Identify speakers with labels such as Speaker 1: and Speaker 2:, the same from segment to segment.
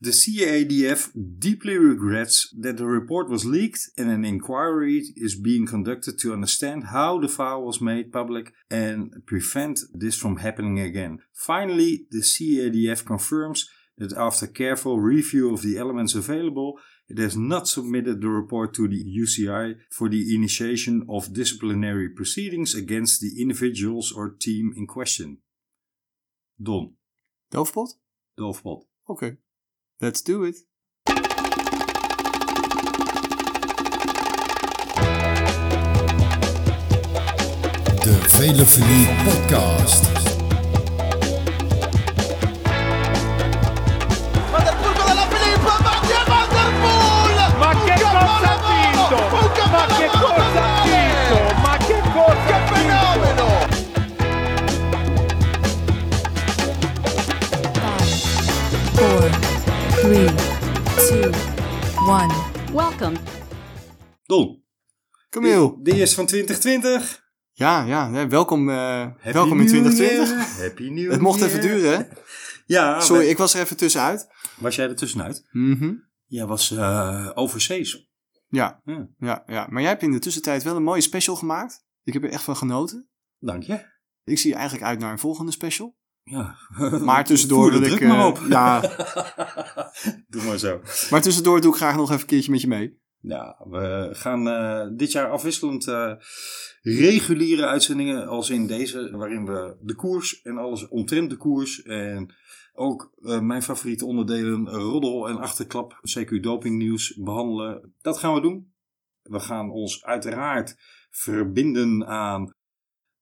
Speaker 1: The CADF deeply regrets that the report was leaked and an inquiry is being conducted to understand how the file was made public and prevent this from happening again. Finally, the CADF confirms that after careful review of the elements available, it has not submitted the report to the UCI for the initiation of disciplinary proceedings against the individuals or team in question. Don,
Speaker 2: Doofpot?
Speaker 1: Doofpot.
Speaker 2: Oké. Let's do it.
Speaker 3: De Vele Verlies Podcast.
Speaker 4: Van der Poel con la Filippo, Mattia Van der Poel!
Speaker 5: Ma
Speaker 4: Un
Speaker 5: che cosa ha
Speaker 4: capolavoro!
Speaker 5: vinto?
Speaker 4: Un
Speaker 5: Ma che
Speaker 4: capolavoro
Speaker 5: cosa ha
Speaker 4: totale!
Speaker 5: vinto? Ma che cosa ha vinto?
Speaker 4: Fenomeno!
Speaker 6: four, three, two, one.
Speaker 7: Welcome.
Speaker 1: Don,
Speaker 2: Camille.
Speaker 1: de eerste van 2020.
Speaker 2: Ja, ja. hè, welkom, eh,
Speaker 1: Happy
Speaker 2: welkom in
Speaker 1: New
Speaker 2: 2020.
Speaker 1: Year. Happy New Year.
Speaker 2: Het mocht even duren, hè?
Speaker 1: Ja,
Speaker 2: Sorry, ik was er even tussenuit.
Speaker 1: was jij er tussenuit?
Speaker 2: Mhm.
Speaker 1: Jij was eh, overzees.
Speaker 2: Ja,
Speaker 1: Ja.
Speaker 2: ja, ja. Maar jij hebt in de tussentijd wel een mooie special gemaakt. Ik heb er echt van genoten.
Speaker 1: Dank je.
Speaker 2: Ik zie eigenlijk uit naar een volgende special.
Speaker 1: Ja.
Speaker 2: Maar tussendoor
Speaker 1: Voer Oh, de
Speaker 2: wil ik...
Speaker 1: druk maar
Speaker 2: eh,
Speaker 1: op.
Speaker 2: Ja,
Speaker 1: Doe maar zo.
Speaker 2: maar tussendoor doe ik graag nog even een keertje met je mee.
Speaker 1: Ja, we gaan eh, dit jaar afwisselend eh, reguliere uitzendingen als in deze, waarin we de koers en alles omtrent de koers en ook eh, mijn favoriete onderdelen eh, roddel en achterklap, CQ dopingnieuws behandelen. Dat gaan we doen. We gaan ons uiteraard verbinden aan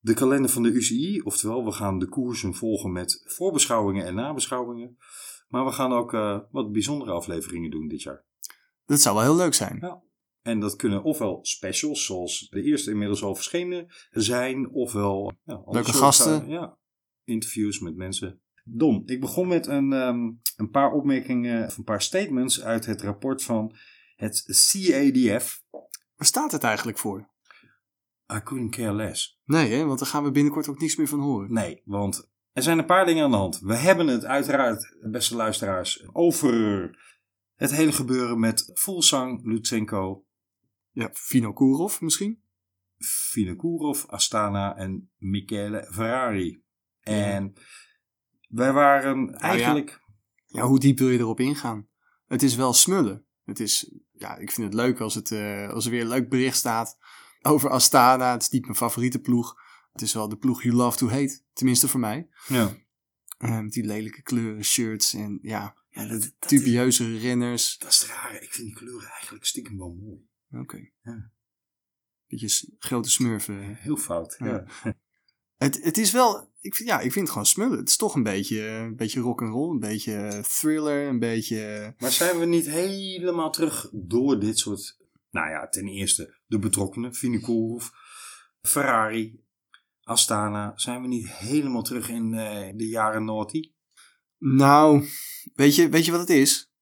Speaker 1: de kalender van de UCI, oftewel we gaan de koersen volgen met voorbeschouwingen en nabeschouwingen. Maar we gaan ook eh, wat bijzondere afleveringen doen dit jaar.
Speaker 2: Dat zou wel heel leuk zijn.
Speaker 1: Ja. En dat kunnen ofwel specials, zoals de eerste inmiddels al verschenen zijn, ofwel ja, andere
Speaker 2: Leuke
Speaker 1: soorten-
Speaker 2: gasten.
Speaker 1: Ja, interviews met mensen. Don, ik begon met een, ehm, een paar opmerkingen of een paar statements uit het rapport van het CADF.
Speaker 2: Waar staat het eigenlijk voor?
Speaker 1: I couldn't care less.
Speaker 2: Nee, hè? want daar gaan we binnenkort ook niks meer van horen.
Speaker 1: Nee, want er zijn een paar dingen aan de hand. We hebben het uiteraard, beste luisteraars, over het hele gebeuren met Fulsang, Lutsenko,
Speaker 2: Ja, Vino Kourov misschien?
Speaker 1: Vinokourov, Astana en Michele Ferrari. En wij waren eigenlijk.
Speaker 2: Ja, hoe diep wil je erop ingaan? Het is wel smullen. Het is, ja, ik vind het leuk als, het, eh, als er weer een leuk bericht staat over Astana. Het is niet mijn favoriete ploeg. Het is wel de ploeg you love to hate. Tenminste voor mij.
Speaker 1: Ja.
Speaker 2: Eh, met die lelijke kleuren shirts en ja,
Speaker 1: Ja, dat, dat is,
Speaker 2: dubieuze renners.
Speaker 1: dat is het rare. Ik vind die kleuren eigenlijk stiekem wel mooi.
Speaker 2: Oké.
Speaker 1: Ja.
Speaker 2: Beetje s- grote smurfen.
Speaker 1: Heel fout. Ja.
Speaker 2: Ja. Het, het is wel, ik vind, ja, ik vind het gewoon smullen. Het is toch een beetje, eh, een beetje rock'n'roll, een beetje eh, thriller, een beetje... eh,
Speaker 1: Maar zijn we niet helemaal terug door dit soort. Nou ja, ten eerste de betrokkenen, Vinokourov, Ferrari, Astana. Zijn we niet helemaal terug in eh, de jaren Naughty?
Speaker 2: Nou, weet je, weet je wat het is?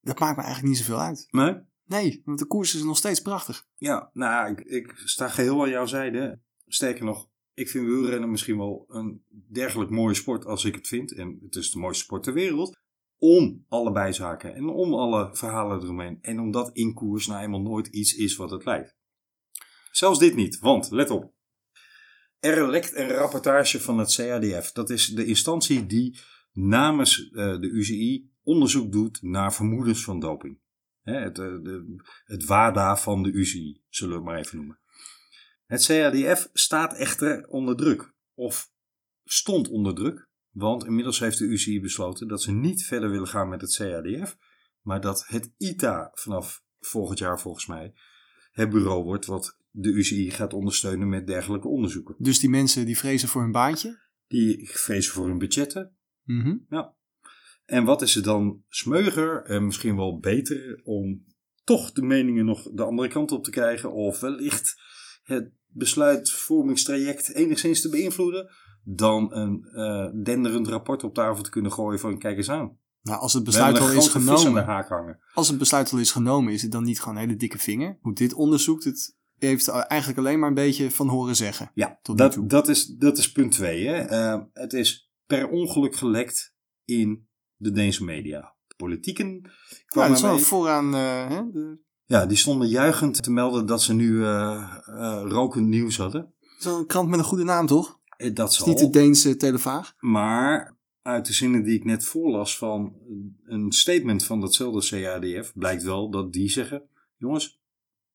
Speaker 2: Dat maakt me eigenlijk niet zoveel uit.
Speaker 1: Nee?
Speaker 2: Nee, want de koers is nog steeds prachtig.
Speaker 1: Ja, nou, ja, ik, ik sta geheel aan jouw zijde. Sterker nog, ik vind wielrennen misschien wel een dergelijk mooie sport als ik het vind. En het is de mooiste sport ter wereld. Om alle bijzaken en om alle verhalen eromheen. En omdat in koers nou eenmaal nooit iets is wat het lijkt. Zelfs dit niet, want let op. Er lekt een rapportage van het CADF. Dat is de instantie die namens eh, de UCI onderzoek doet naar vermoedens van doping. Hè, het, eh, de, het WADA van de UCI, zullen we het maar even noemen. Het CADF staat echter onder druk, of stond onder druk, want inmiddels heeft de UCI besloten dat ze niet verder willen gaan met het CADF, maar dat het ITA vanaf volgend jaar volgens mij het bureau wordt wat de UCI gaat ondersteunen met dergelijke onderzoeken.
Speaker 2: Dus die mensen die vrezen voor hun baantje.
Speaker 1: Die vrezen voor hun budgetten,
Speaker 2: Mhm.
Speaker 1: En wat is het dan smeuger en misschien wel beter om toch de meningen nog de andere kant op te krijgen of wellicht het besluitvormingstraject enigszins te beïnvloeden dan een eh, denderend rapport op tafel te kunnen gooien van kijk eens aan.
Speaker 2: Nou, als het
Speaker 1: We hebben
Speaker 2: besluit
Speaker 1: een
Speaker 2: al is
Speaker 1: grote vis aan de
Speaker 2: genomen.
Speaker 1: haak hangen.
Speaker 2: Als het besluit al is genomen, is het dan niet gewoon een hele dikke vinger? Hoe dit onderzoekt, het heeft eigenlijk alleen maar een beetje van horen zeggen.
Speaker 1: Ja,
Speaker 2: Tot nu
Speaker 1: dat,
Speaker 2: toe.
Speaker 1: dat, is, dat is punt twee. Hè? Eh, het is per ongeluk gelekt in de Deense media. politieken
Speaker 2: Nou,
Speaker 1: kwamen
Speaker 2: dat is wel
Speaker 1: mee.
Speaker 2: vooraan eh, hè, de,
Speaker 1: Ja, die stonden juichend te melden dat ze nu eh, eh, rokend nieuws hadden.
Speaker 2: dat is wel een krant met een goede naam, toch? Het
Speaker 1: Eh, Dat
Speaker 2: is
Speaker 1: zal.
Speaker 2: niet de Deense Televaag.
Speaker 1: Maar uit de zinnen die ik net voorlas van een statement van datzelfde CADF blijkt wel dat die zeggen: jongens,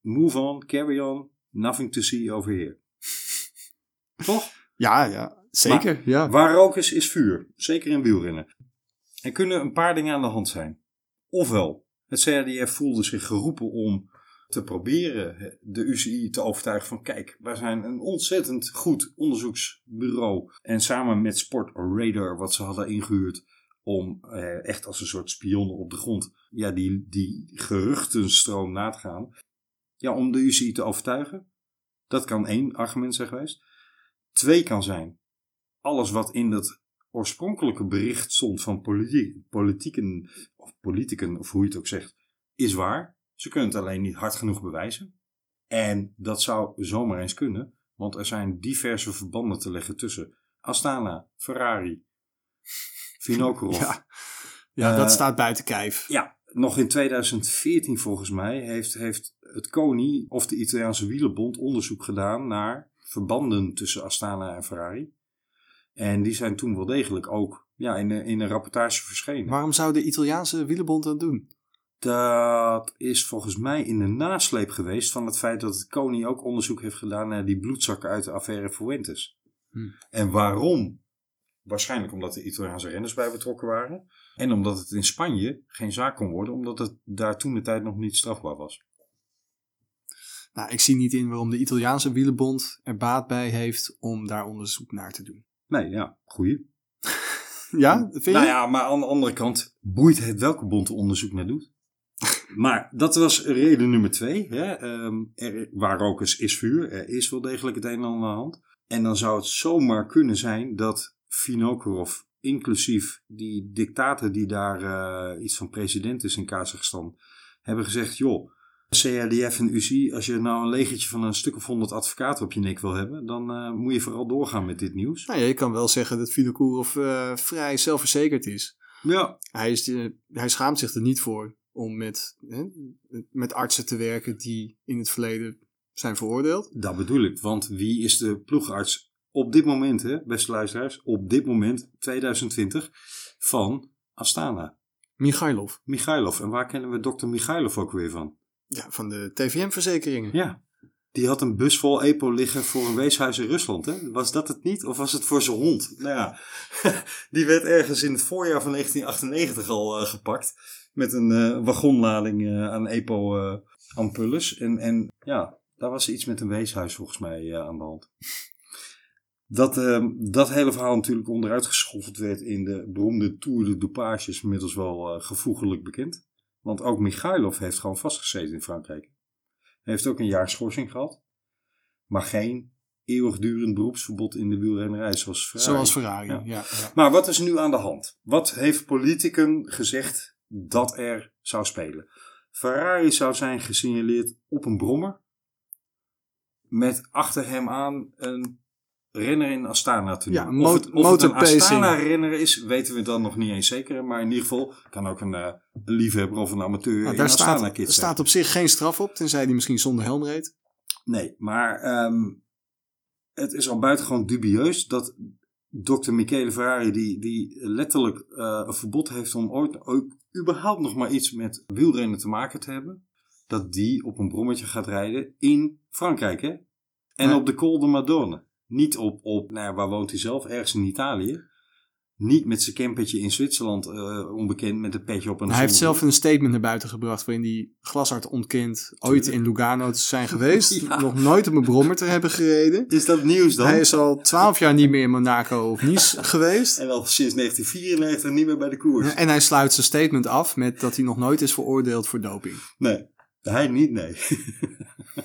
Speaker 1: move on, carry on, nothing to see over here. Toch?
Speaker 2: Ja, ja. Zeker, ja.
Speaker 1: Waar rook is, is vuur. Zeker in wielrennen. Er kunnen een paar dingen aan de hand zijn. Ofwel, het CADF voelde zich geroepen om te proberen de UCI te overtuigen van kijk, wij zijn een ontzettend goed onderzoeksbureau. En samen met Sport Radar, wat ze hadden ingehuurd om eh, echt als een soort spionnen op de grond ja, die, die geruchtenstroom na te gaan. Ja, om de UCI te overtuigen. Dat kan één argument zijn geweest. Twee kan zijn alles wat in dat oorspronkelijke bericht stond van politie- politieken, of politieken, of hoe je het ook zegt, is waar. Ze kunnen het alleen niet hard genoeg bewijzen. En dat zou zomaar eens kunnen, want er zijn diverse verbanden te leggen tussen Astana, Ferrari, Vinokurov.
Speaker 2: Ja, ja
Speaker 1: Eh,
Speaker 2: dat staat buiten kijf.
Speaker 1: Ja, nog in 2014 volgens mij heeft, heeft het CONI of de Italiaanse Wielenbond onderzoek gedaan naar verbanden tussen Astana en Ferrari. En die zijn toen wel degelijk ook ja, in, een- in een rapportage verschenen.
Speaker 2: Waarom zou de Italiaanse wielenbond dat doen?
Speaker 1: dat is volgens mij in de nasleep geweest van het feit dat het CONI ook onderzoek heeft gedaan naar die bloedzakken uit de affaire Fuentes.
Speaker 2: Hmm.
Speaker 1: En waarom? Waarschijnlijk omdat de Italiaanse renners bij betrokken waren. En omdat het in Spanje geen zaak kon worden, omdat het daar toen de tijd nog niet strafbaar was.
Speaker 2: Nou, ik zie niet in waarom de Italiaanse wielenbond er baat bij heeft om daar onderzoek naar te doen.
Speaker 1: Nee, ja, goeie.
Speaker 2: Ja, vind je?
Speaker 1: Nou ja, maar aan de andere kant boeit het welke bond er onderzoek naar doet. Maar dat was reden nummer twee. Hè. Ehm, er, waar rook is, is vuur. Er is wel degelijk het een en ander aan de hand. En dan zou het zomaar kunnen zijn dat Vinokurov, inclusief die dictator die daar eh, iets van president is in Kazachstan, hebben gezegd: joh, CRDF en UCI, als je nou een legertje van een stuk of honderd advocaten op je nek wil hebben, dan eh, moet je vooral doorgaan met dit nieuws.
Speaker 2: Nou ja, je kan wel zeggen dat Fidokurov eh vrij zelfverzekerd is.
Speaker 1: Ja,
Speaker 2: Hij, is eh, hij schaamt zich er niet voor om met, hè, met artsen te werken die in het verleden zijn veroordeeld.
Speaker 1: Dat bedoel ik, want wie is de ploegarts op dit moment, hè, beste luisteraars, op dit moment 2020 van Astana?
Speaker 2: Michailov,
Speaker 1: Michailov. En waar kennen we dokter Michailov ook weer van?
Speaker 2: ja, van de TVM-verzekeringen.
Speaker 1: Ja, die had een bus vol EPO liggen voor een weeshuis in Rusland. Hè? Was dat het niet? Of was het voor zijn hond? Nou ja, die werd ergens in het voorjaar van 1998 al eh, gepakt. Met een eh, wagonlading eh, aan EPO-ampulles. en, en ja, daar was iets met een weeshuis volgens mij eh, aan de hand. Dat, eh, dat hele verhaal natuurlijk onderuit geschoffeld werd in de beroemde Tour de Dopage is inmiddels wel eh, gevoegelijk bekend. Want ook Michailov heeft gewoon vastgezeten in Frankrijk. Hij heeft ook een jaar schorsing gehad. Maar geen eeuwigdurend beroepsverbod in de wielrennerij zoals Ferrari.
Speaker 2: Zoals Ferrari, ja.
Speaker 1: Ja.
Speaker 2: ja.
Speaker 1: Maar wat is nu aan de hand? Wat heeft politicum gezegd dat er zou spelen? Ferrari zou zijn gesignaleerd op een brommer. Met achter hem aan een renner in Astana te
Speaker 2: Ja,
Speaker 1: noemen. Of het, of het een
Speaker 2: motorpacing.
Speaker 1: Astana-renner is, weten we dan nog niet eens zeker. Maar in ieder geval kan ook een, eh, een liefhebber of een amateur
Speaker 2: Nou,
Speaker 1: in
Speaker 2: daar staat,
Speaker 1: Astana-kit zijn.
Speaker 2: staat op zich geen straf op, tenzij die misschien zonder helm reed.
Speaker 1: Nee, maar ehm, het is al buitengewoon dubieus dat dokter Michele Ferrari, die, die letterlijk eh, een verbod heeft om ooit ook überhaupt nog maar iets met wielrennen te maken te hebben, dat die op een brommetje gaat rijden in Frankrijk, hè? En
Speaker 2: Nee.
Speaker 1: op de Col de Madonna. Niet op, op nou ja, waar woont hij zelf, ergens in Italië. Niet met zijn campertje in Zwitserland, eh, onbekend, met een petje op en een
Speaker 2: hij heeft
Speaker 1: zonnebril.
Speaker 2: zelf een statement naar buiten gebracht waarin hij glashard ontkent ooit in Lugano te zijn geweest.
Speaker 1: Ja.
Speaker 2: Nog nooit op een brommer te hebben gereden.
Speaker 1: Is dat nieuws dan?
Speaker 2: Hij is al twaalf jaar niet meer in Monaco of Nice geweest.
Speaker 1: En al sinds 1994 niet meer bij de koers.
Speaker 2: En hij sluit zijn statement af met dat hij nog nooit is veroordeeld voor doping.
Speaker 1: Nee, hij niet, nee.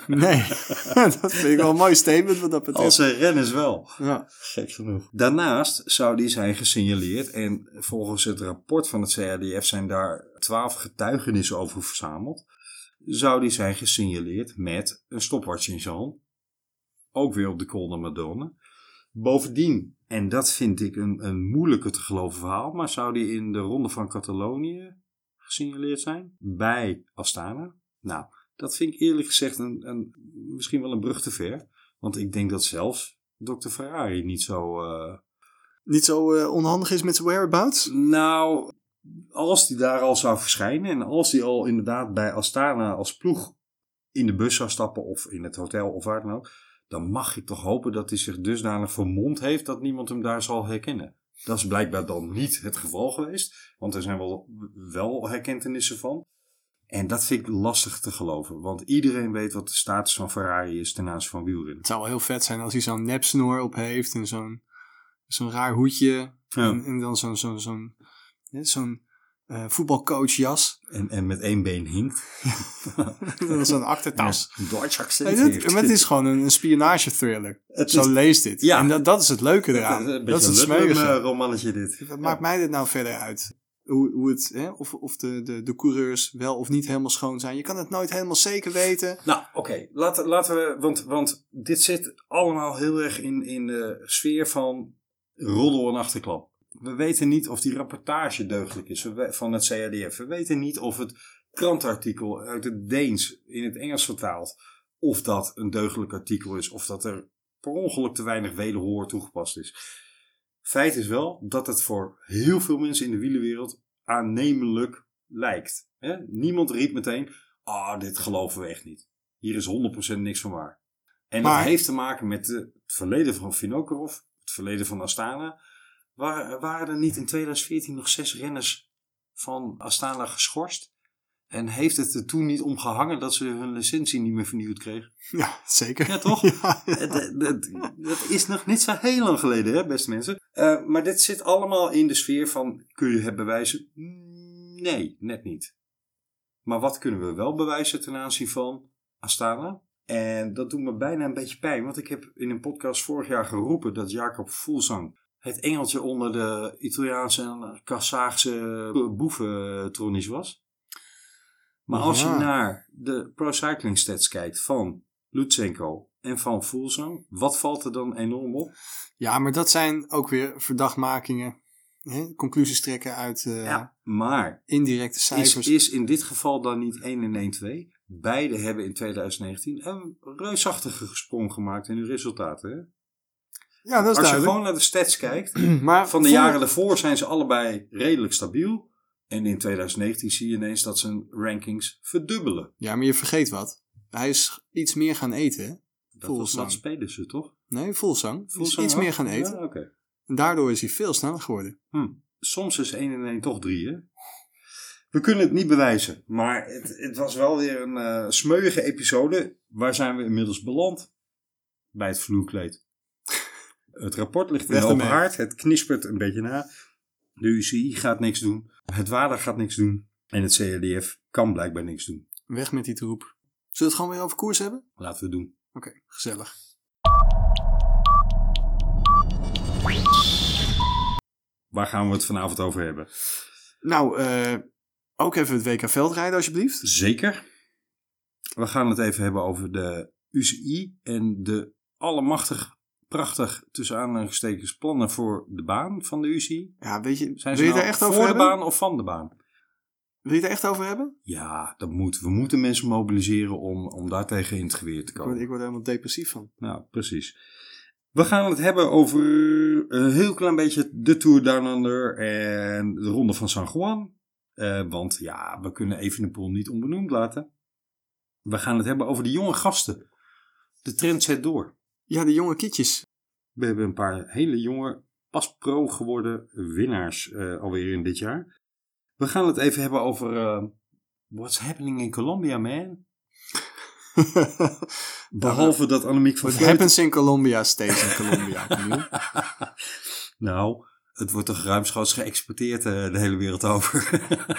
Speaker 2: Nee, dat vind ik wel een mooi statement wat dat
Speaker 1: Als
Speaker 2: betreft.
Speaker 1: zijn renners wel.
Speaker 2: Ja.
Speaker 1: Gek genoeg. Daarnaast zou die zijn gesignaleerd en volgens het rapport van het CRDF zijn daar twaalf getuigenissen over verzameld. Zou die zijn gesignaleerd met een stopwatch in zijn hand. Ook weer op de Col de Madonna. Bovendien, en dat vind ik een, een moeilijker te geloven verhaal, maar zou die in de Ronde van Catalonië gesignaleerd zijn bij Astana. Nou, dat vind ik eerlijk gezegd een, een, misschien wel een brug te ver. Want ik denk dat zelfs Dr. Ferrari niet zo... eh,
Speaker 2: Niet zo eh, onhandig is met zijn whereabouts?
Speaker 1: nou, als die daar al zou verschijnen en als die al inderdaad bij Astana als ploeg in de bus zou stappen of in het hotel of waar dan ook, dan mag ik toch hopen dat hij zich dusdanig vermomd heeft dat niemand hem daar zal herkennen. Dat is blijkbaar dan niet het geval geweest, want er zijn wel, wel herkentenissen van. En dat vind ik lastig te geloven, want iedereen weet wat de status van Ferrari is ten aanzien van wielrennen.
Speaker 2: Het zou wel heel vet zijn als hij zo'n nepsnoor op heeft en zo'n zo'n raar hoedje.
Speaker 1: Ja.
Speaker 2: En, en dan zo'n zo'n zo'n hè, zo'n eh, voetbalcoachjas.
Speaker 1: En, en met één been hinkt.
Speaker 2: en dan zo'n achtertas.
Speaker 1: Nou, Een Duits accent
Speaker 2: Hey, dit,
Speaker 1: heeft.
Speaker 2: maar het is gewoon een, een spionage thriller.
Speaker 1: Het
Speaker 2: Zo
Speaker 1: is-
Speaker 2: leest dit.
Speaker 1: Ja.
Speaker 2: En dat, dat is het leuke
Speaker 1: Een
Speaker 2: eraan.
Speaker 1: beetje
Speaker 2: dat is het
Speaker 1: een Ludlum, eh,
Speaker 2: smeuïge.
Speaker 1: romannetje dit.
Speaker 2: Wat maakt mij dit nou verder uit? Hoe, hoe het, hè? Of, of de, de, de coureurs wel of niet helemaal schoon zijn. Je kan het nooit helemaal zeker weten.
Speaker 1: Nou, oké. Laten, laten we, want, want dit zit allemaal heel erg in, in de sfeer van roddel en achterklap. We weten niet of die rapportage deugdelijk is we- van het CADF. We weten niet of het krantartikel uit het Deens in het Engels vertaald, of dat een deugdelijk artikel is, of dat er per ongeluk te weinig wederhoor toegepast is. Feit is wel dat het voor heel veel mensen in de wielenwereld aannemelijk lijkt. Hè? Niemand riep meteen, ah, dit geloven we echt niet. Hier is 100% niks van waar. En
Speaker 2: Maar-
Speaker 1: dat heeft te maken met eh, het verleden van Vinokurov, het verleden van Astana. Waar, waren er niet in 2014 nog zes renners van Astana geschorst? En heeft het er toen niet om gehangen dat ze hun licentie niet meer vernieuwd kregen?
Speaker 2: Ja, zeker.
Speaker 1: Ja, toch? Eh,
Speaker 2: Ja.
Speaker 1: dat, dat- dat is nog niet zo heel lang geleden, hè, beste mensen. Eh, maar dit zit allemaal in de sfeer van: kun je het bewijzen? Nee, net niet. Maar wat kunnen we wel bewijzen ten aanzien van Astana? En dat doet me bijna een beetje pijn, want ik heb in een podcast vorig jaar geroepen dat Jacob Fulsang het engeltje onder de Italiaanse en Kazachse boeventronies was. Maar als je
Speaker 2: Ja.
Speaker 1: naar de pro cycling stats kijkt van Lutsenko en van Fulsang, wat valt er dan enorm op?
Speaker 2: Ja, maar dat zijn ook weer verdachtmakingen. Hè? Conclusies trekken uit eh,
Speaker 1: Maar
Speaker 2: indirecte
Speaker 1: is,
Speaker 2: cijfers.
Speaker 1: is in dit geval dan niet 1 en 1 2? Beide hebben in 2019 een reusachtige sprong gemaakt in hun resultaten. Hè?
Speaker 2: ja, dat
Speaker 1: Als
Speaker 2: is
Speaker 1: je
Speaker 2: duidelijk.
Speaker 1: gewoon naar de stats kijkt,
Speaker 2: maar
Speaker 1: van de
Speaker 2: voor-
Speaker 1: jaren daarvoor zijn ze allebei redelijk stabiel. En in 2019 zie je ineens dat zijn rankings verdubbelen.
Speaker 2: Ja, maar je vergeet wat. Hij is iets meer gaan eten. hè?
Speaker 1: Dat, was,
Speaker 2: Fuglsang.
Speaker 1: dat spelen ze toch?
Speaker 2: Nee, Volsang. is
Speaker 1: Fuglsang
Speaker 2: iets
Speaker 1: ook?
Speaker 2: meer gaan eten.
Speaker 1: Ja, oké.
Speaker 2: En daardoor is hij veel sneller geworden.
Speaker 1: Hm. Soms is 1 en 1 toch 3, hè? We kunnen het niet bewijzen, maar het, het was wel weer een eh smeuïge episode. Waar zijn we inmiddels beland? Bij het vloerkleed. Het rapport ligt in
Speaker 2: Weg
Speaker 1: de open
Speaker 2: ermee.
Speaker 1: haard. Het knispert een beetje na. De UCI gaat niks doen. Het WADA gaat niks doen. En het CRDF kan blijkbaar niks doen.
Speaker 2: Weg met die troep. Zullen we het gewoon weer over koers hebben?
Speaker 1: Laten we het doen.
Speaker 2: Oké, gezellig.
Speaker 1: Waar gaan we het vanavond over hebben?
Speaker 2: Nou, eh, ook even het WK veldrijden alsjeblieft.
Speaker 1: Zeker. We gaan het even hebben over de UCI en de allemachtig, prachtig, tussen aanhalingstekens, plannen voor de baan van de UCI.
Speaker 2: Ja, weet je,
Speaker 1: Zijn ze
Speaker 2: wil je
Speaker 1: nou
Speaker 2: daar echt
Speaker 1: voor
Speaker 2: over
Speaker 1: de
Speaker 2: hebben?
Speaker 1: baan of van de baan?
Speaker 2: Wil je daar echt over hebben?
Speaker 1: Ja, dat moet. We moeten mensen mobiliseren om, om daartegen in het geweer te
Speaker 2: Ik word,
Speaker 1: komen.
Speaker 2: ik word er helemaal depressief van.
Speaker 1: Nou, precies. We gaan het hebben over een heel klein beetje de Tour Down Under en de Ronde van San Juan. Eh, want ja, we kunnen Evenepoel niet onbenoemd laten. We gaan het hebben over de jonge gasten. De trend zet door.
Speaker 2: Ja, de jonge kietjes.
Speaker 1: We hebben een paar hele jonge, pas pro geworden winnaars eh, alweer in dit jaar. We gaan het even hebben over eh, what's happening in Colombia, man. Behalve dat Annemiek van
Speaker 2: What
Speaker 1: Vleuten-
Speaker 2: happens in Colombia stays in Colombia. opnieuw.
Speaker 1: nou, het wordt toch ruimschoots geëxporteerd eh, de hele wereld over.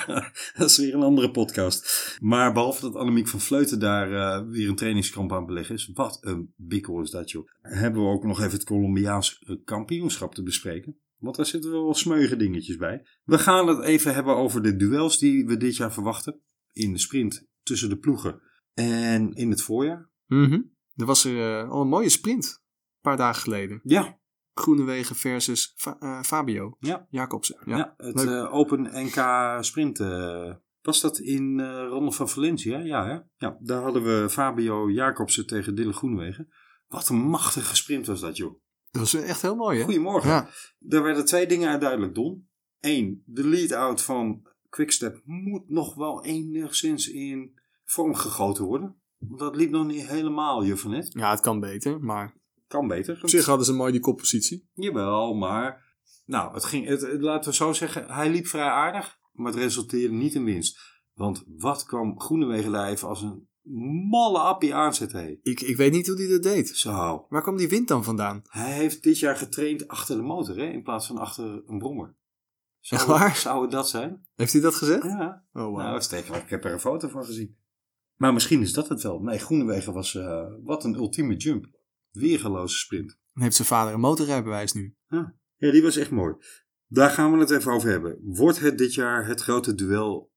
Speaker 1: dat is weer een andere podcast. Maar behalve dat Annemiek van Vleuten daar eh, weer een trainingskamp aan beleg is. Wat een bikkel is dat joh. Hebben we ook nog even het Colombiaans eh, kampioenschap te bespreken. Want daar zitten wel smeuige dingetjes bij. We gaan het even hebben over de duels die we dit jaar verwachten. In de sprint tussen de ploegen. En in het voorjaar.
Speaker 2: Mhm. Er was er eh, al een mooie sprint. Een paar dagen geleden.
Speaker 1: Ja,
Speaker 2: Groenewegen versus Fa- eh, Fabio.
Speaker 1: Ja.
Speaker 2: Jacobsen. Ja.
Speaker 1: Ja, het
Speaker 2: leuk.
Speaker 1: eh, Open NK Sprint eh, Was dat in eh Ronde van Valencia? Ja, hè? ja, daar hadden we Fabio Jacobsen tegen Dille Groenwegen. Wat een machtige sprint was dat, joh.
Speaker 2: Dat was echt heel mooi, hè?
Speaker 1: Goedemorgen.
Speaker 2: Ja.
Speaker 1: Daar werden twee dingen uit duidelijk, Don. Eén, de lead-out van Quickstep moet nog wel enigszins in vorm gegoten worden. Want dat liep nog niet helemaal, Juffernet.
Speaker 2: ja, het kan beter, maar
Speaker 1: Kan beter.
Speaker 2: op zich hadden ze mooi die koppositie.
Speaker 1: Jawel, maar... Nou, het ging, het, het- laten we zo zeggen, hij liep vrij aardig, maar het resulteerde niet in winst. Want wat kwam Groenewegen daar even als een malle appie aanzetten, hé.
Speaker 2: Ik, ik weet niet hoe die dat deed.
Speaker 1: Zo.
Speaker 2: Waar kwam die wind dan vandaan?
Speaker 1: Hij heeft dit jaar getraind achter de motor, hè, in plaats van achter een brommer. Zou,
Speaker 2: Echt waar?
Speaker 1: zou het dat zijn?
Speaker 2: Heeft hij dat gezegd?
Speaker 1: Ja.
Speaker 2: Oh, wow.
Speaker 1: Nou, steekelijk. Ik heb er een foto van gezien. Maar misschien is dat het wel. Nee, Groenewegen was eh, wat een ultieme jump. Weergeloze sprint.
Speaker 2: Dan heeft zijn vader een motorrijbewijs nu.
Speaker 1: Ja, die was echt mooi. Daar gaan we het even over hebben. Wordt het dit jaar het grote duel?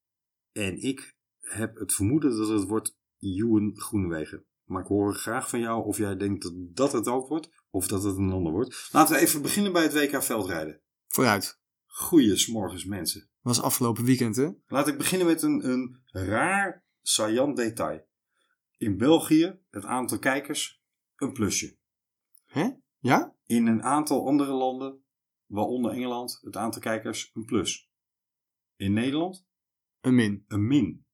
Speaker 1: En ik heb het vermoeden dat het wordt Joen Groenewegen. Maar ik hoor graag van jou of jij denkt dat dat het ook wordt. Of dat het een ander wordt. Laten we even beginnen bij het WK veldrijden.
Speaker 2: Vooruit.
Speaker 1: Goeiesmorgens mensen.
Speaker 2: Was afgelopen weekend, hè?
Speaker 1: Laat ik beginnen met een, een raar, saillant detail. In België, het aantal kijkers, een plusje.
Speaker 2: Hè? Ja?
Speaker 1: In een aantal andere landen, waaronder Engeland, het aantal kijkers, een plus. In Nederland,
Speaker 2: Een min.
Speaker 1: een min.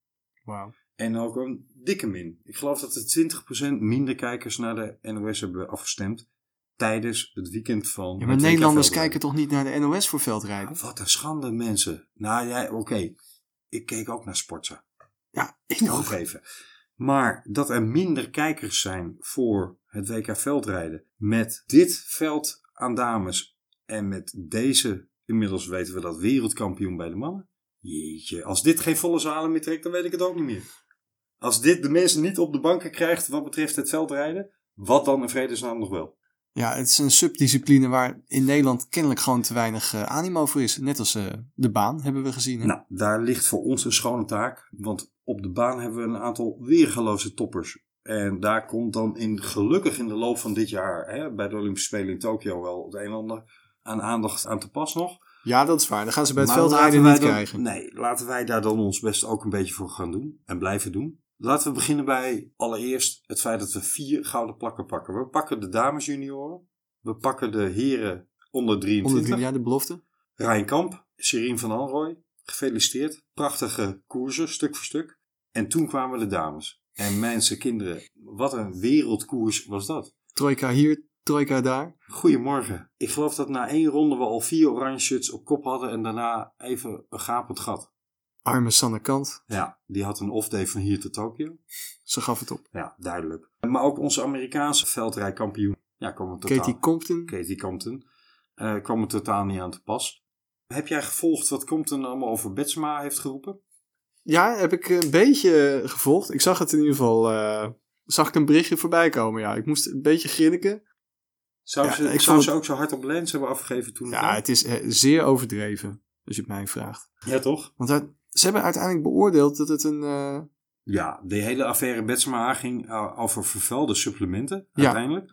Speaker 2: Wauw.
Speaker 1: En ook een dikke min. Ik geloof dat er 20% minder kijkers naar de NOS hebben afgestemd tijdens het weekend van...
Speaker 2: Ja,
Speaker 1: het
Speaker 2: maar
Speaker 1: WK
Speaker 2: Nederlanders
Speaker 1: veldrijden.
Speaker 2: kijken toch niet naar de NOS voor veldrijden?
Speaker 1: Wat een schande, mensen. Nou ja, oké. Ik keek ook naar Sportza.
Speaker 2: Ja, ik
Speaker 1: Nog even. Maar dat er minder kijkers zijn voor het WK veldrijden met dit veld aan dames en met deze, inmiddels weten we dat, wereldkampioen bij de mannen. Jeetje, als dit geen volle zalen meer trekt, dan weet ik het ook niet meer. Als dit de mensen niet op de banken krijgt wat betreft het veldrijden, wat dan in vredesnaam nog wel?
Speaker 2: Ja, het is een subdiscipline waar in Nederland kennelijk gewoon te weinig eh, animo voor is. Net als eh, de baan hebben we gezien. hè?
Speaker 1: Nou, daar ligt voor ons een schone taak. Want op de baan hebben we een aantal weergeloze toppers. En daar komt dan in, gelukkig in de loop van dit jaar hè, bij de Olympische Spelen in Tokio wel het een en ander aan aandacht aan te pas nog.
Speaker 2: Ja, dat is waar. Dan gaan ze bij het
Speaker 1: Maar
Speaker 2: veldrijden
Speaker 1: laten
Speaker 2: niet
Speaker 1: wij dan-
Speaker 2: krijgen.
Speaker 1: Nee, laten wij daar dan ons best ook een beetje voor gaan doen en blijven doen. Laten we beginnen bij allereerst het feit dat we vier gouden plakken pakken. We pakken de dames junioren, we pakken de heren onder 23.
Speaker 2: Onder drie jaar de belofte.
Speaker 1: Rijn Kamp, Serien van Alrooy, gefeliciteerd. Prachtige koersen, stuk voor stuk. En toen kwamen de dames. En mensen, kinderen, wat een wereldkoers was dat.
Speaker 2: Trojka hier, trojka daar.
Speaker 1: Goedemorgen. Ik geloof dat na één ronde we al vier oranje shirts op kop hadden en daarna even een gapend gat.
Speaker 2: Arme Sanne Kant.
Speaker 1: Ja, die had een off-day van hier tot Tokio.
Speaker 2: Ze gaf het op.
Speaker 1: Ja, duidelijk. Maar ook onze Amerikaanse veldrijkampioen. Ja, kwam er totaal.
Speaker 2: Katie Compton.
Speaker 1: Katie Compton. eh, kwam er totaal niet aan te pas. Heb jij gevolgd wat Compton allemaal over Betsma heeft geroepen?
Speaker 2: Ja, heb ik een beetje eh, gevolgd. Ik zag het in ieder geval. eh, zag ik een berichtje voorbij komen. Ja, ik moest een beetje grinniken.
Speaker 1: Zou,
Speaker 2: Ja,
Speaker 1: ze,
Speaker 2: ik
Speaker 1: zou
Speaker 2: vond
Speaker 1: ze
Speaker 2: het-
Speaker 1: ook zo hard op Lens hebben afgegeven toen?
Speaker 2: Ja, het is eh, zeer overdreven. Als je het mij vraagt.
Speaker 1: ja, toch?
Speaker 2: Want uit- ze hebben uiteindelijk beoordeeld dat het een. eh,
Speaker 1: Ja, de hele affaire Betsma ging eh, over vervuilde supplementen
Speaker 2: Ja.
Speaker 1: uiteindelijk.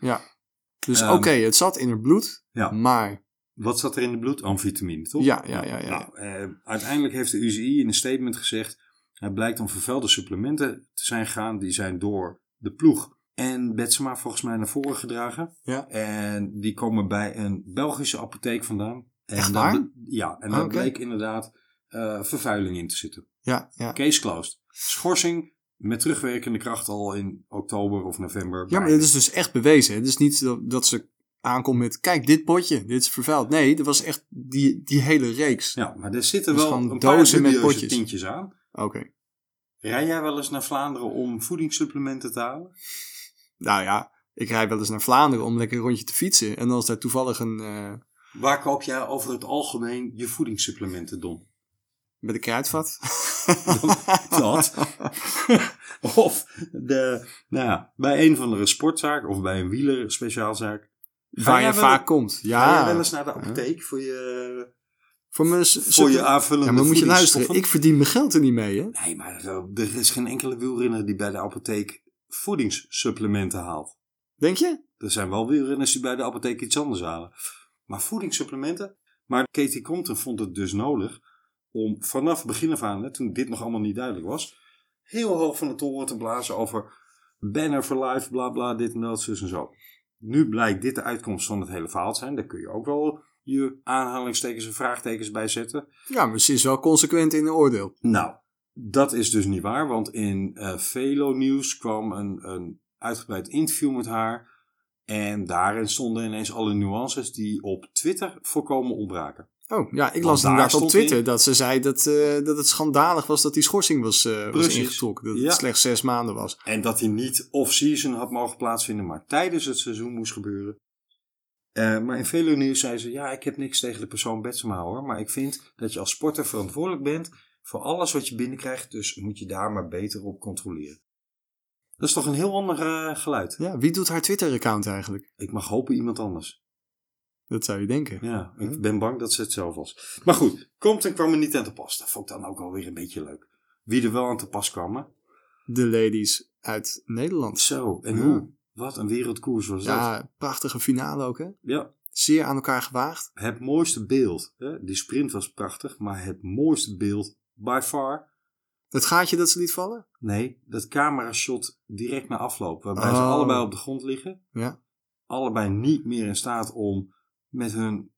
Speaker 2: dus
Speaker 1: Ehm.
Speaker 2: oké, het zat in haar bloed.
Speaker 1: Ja.
Speaker 2: Maar.
Speaker 1: Wat zat er in de bloed? Amfetamine, toch?
Speaker 2: Ja, ja, ja, ja.
Speaker 1: Nou, eh, uiteindelijk heeft de UCI in een statement gezegd... het blijkt om vervuilde supplementen te zijn gegaan... die zijn door de ploeg en Betsma volgens mij naar voren gedragen.
Speaker 2: Ja.
Speaker 1: En die komen bij een Belgische apotheek vandaan. En
Speaker 2: Echt
Speaker 1: daar
Speaker 2: waar? Ah,
Speaker 1: ble- Ja, en daar
Speaker 2: Oké.
Speaker 1: bleek inderdaad eh, vervuiling in te zitten.
Speaker 2: Ja, ja.
Speaker 1: Case closed. Schorsing met terugwerkende kracht al in oktober of november.
Speaker 2: Ja, maar dit is dus echt bewezen. hè. Het is niet dat, dat ze aankomt met, kijk, dit potje, dit is vervuild. Nee, er was echt die, die hele reeks.
Speaker 1: Ja, maar er zitten
Speaker 2: Dus
Speaker 1: wel
Speaker 2: gewoon
Speaker 1: een paar
Speaker 2: dozen met
Speaker 1: dubieuze
Speaker 2: potjes.
Speaker 1: tintjes aan.
Speaker 2: Oké.
Speaker 1: Rij jij wel eens naar Vlaanderen om voedingssupplementen te halen?
Speaker 2: Nou ja, ik rijd wel eens naar Vlaanderen om lekker een rondje te fietsen. En als daar toevallig een, eh,
Speaker 1: Waar koop jij over het algemeen je voedingssupplementen, Don?
Speaker 2: met een kruidvat.
Speaker 1: Dat. of de, nou ja, bij een van de sportzaak of bij een wieler speciaalzaak. Ga
Speaker 2: Waar
Speaker 1: jij
Speaker 2: je
Speaker 1: wel-
Speaker 2: vaak komt.
Speaker 1: Ga jij
Speaker 2: Ja.
Speaker 1: wel eens naar de apotheek voor je,
Speaker 2: Voor, mijn,
Speaker 1: voor je aanvullende
Speaker 2: Ja, maar moet je luisteren.
Speaker 1: voedingsstoffen?
Speaker 2: Ik verdien mijn geld er niet mee, hè?
Speaker 1: Nee, maar er er is geen enkele wielrenner die bij de apotheek voedingssupplementen haalt.
Speaker 2: Denk je?
Speaker 1: Er zijn wel wielrenners die bij de apotheek iets anders halen. Maar voedingssupplementen? Maar Katie Compton vond het dus nodig om vanaf begin af aan, hè, toen dit nog allemaal niet duidelijk was, heel hoog van de toren te blazen over banner for life, bla bla, dit en dat, zus en zo. Nu blijkt dit de uitkomst van het hele verhaal te zijn. Daar kun je ook wel je aanhalingstekens en vraagtekens bij zetten.
Speaker 2: Ja, maar ze is wel consequent in haar oordeel.
Speaker 1: Nou, dat is dus niet waar, want in eh, Velo Nieuws kwam een, een uitgebreid interview met haar. En daarin stonden ineens alle nuances die op Twitter voorkomen ontbraken.
Speaker 2: Oh, ja, ik
Speaker 1: Want
Speaker 2: las
Speaker 1: daar
Speaker 2: inderdaad op
Speaker 1: stond
Speaker 2: Twitter
Speaker 1: in-
Speaker 2: dat ze zei dat, eh, dat het schandalig was dat die schorsing was, eh, was
Speaker 1: Precies.
Speaker 2: ingetrokken. Dat het
Speaker 1: Ja.
Speaker 2: slechts zes maanden was.
Speaker 1: En dat hij niet off-season had mogen plaatsvinden, maar tijdens het seizoen moest gebeuren. Eh, maar in Velo Nieuws zei ze, ja, ik heb niks tegen de persoon Betsema hoor. Maar ik vind dat je als sporter verantwoordelijk bent voor alles wat je binnenkrijgt. Dus moet je daar maar beter op controleren. Dat is toch een heel ander eh, geluid.
Speaker 2: Ja, wie doet haar Twitter-account eigenlijk?
Speaker 1: Ik mag hopen iemand anders.
Speaker 2: Dat zou je denken.
Speaker 1: Ja, ik ben bang dat ze het zelf was. Maar goed, Compton kwam er niet aan te pas. Dat vond ik dan ook alweer een beetje leuk. Wie er wel aan te pas kwamen.
Speaker 2: De ladies uit Nederland.
Speaker 1: Zo, en
Speaker 2: Ja.
Speaker 1: hoe? Wat een wereldkoers was dat.
Speaker 2: Ja, prachtige finale ook, hè?
Speaker 1: Ja,
Speaker 2: Zeer aan elkaar gewaagd.
Speaker 1: het mooiste beeld. Hè? Die sprint was prachtig, maar het mooiste beeld by far.
Speaker 2: Het gaatje dat ze liet vallen?
Speaker 1: Nee, dat camerashot direct na afloop. Waarbij ze
Speaker 2: Oh.
Speaker 1: allebei op de grond liggen.
Speaker 2: Ja.
Speaker 1: Allebei niet meer in staat om met hun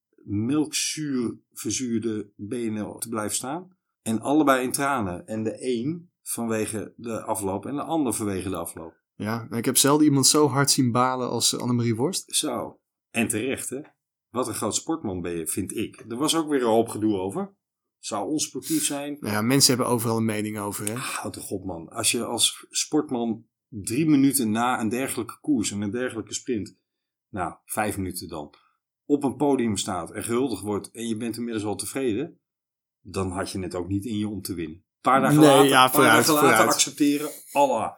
Speaker 1: melkzuur verzuurde benen te blijven staan. En allebei in tranen. En de een vanwege de afloop en de ander vanwege de afloop.
Speaker 2: Ja, ik heb zelden iemand zo hard zien balen als eh, Annemarie Worst.
Speaker 1: Zo. En terecht, hè? Wat een groot sportman ben je, vind ik. Er was ook weer een hoop gedoe over. Zou onsportief zijn.
Speaker 2: Nou ja, mensen hebben overal een mening over, hè?
Speaker 1: Houd toch op, man. Als je als sportman drie minuten na een dergelijke koers en een dergelijke sprint, nou, vijf minuten dan, op een podium staat en gehuldigd wordt en je bent inmiddels al tevreden, dan had je het ook niet in je om te winnen. Een paar dagen
Speaker 2: Nee,
Speaker 1: later,
Speaker 2: ja,
Speaker 1: een paar
Speaker 2: vooruit,
Speaker 1: dagen later
Speaker 2: vooruit.
Speaker 1: accepteren, Allah.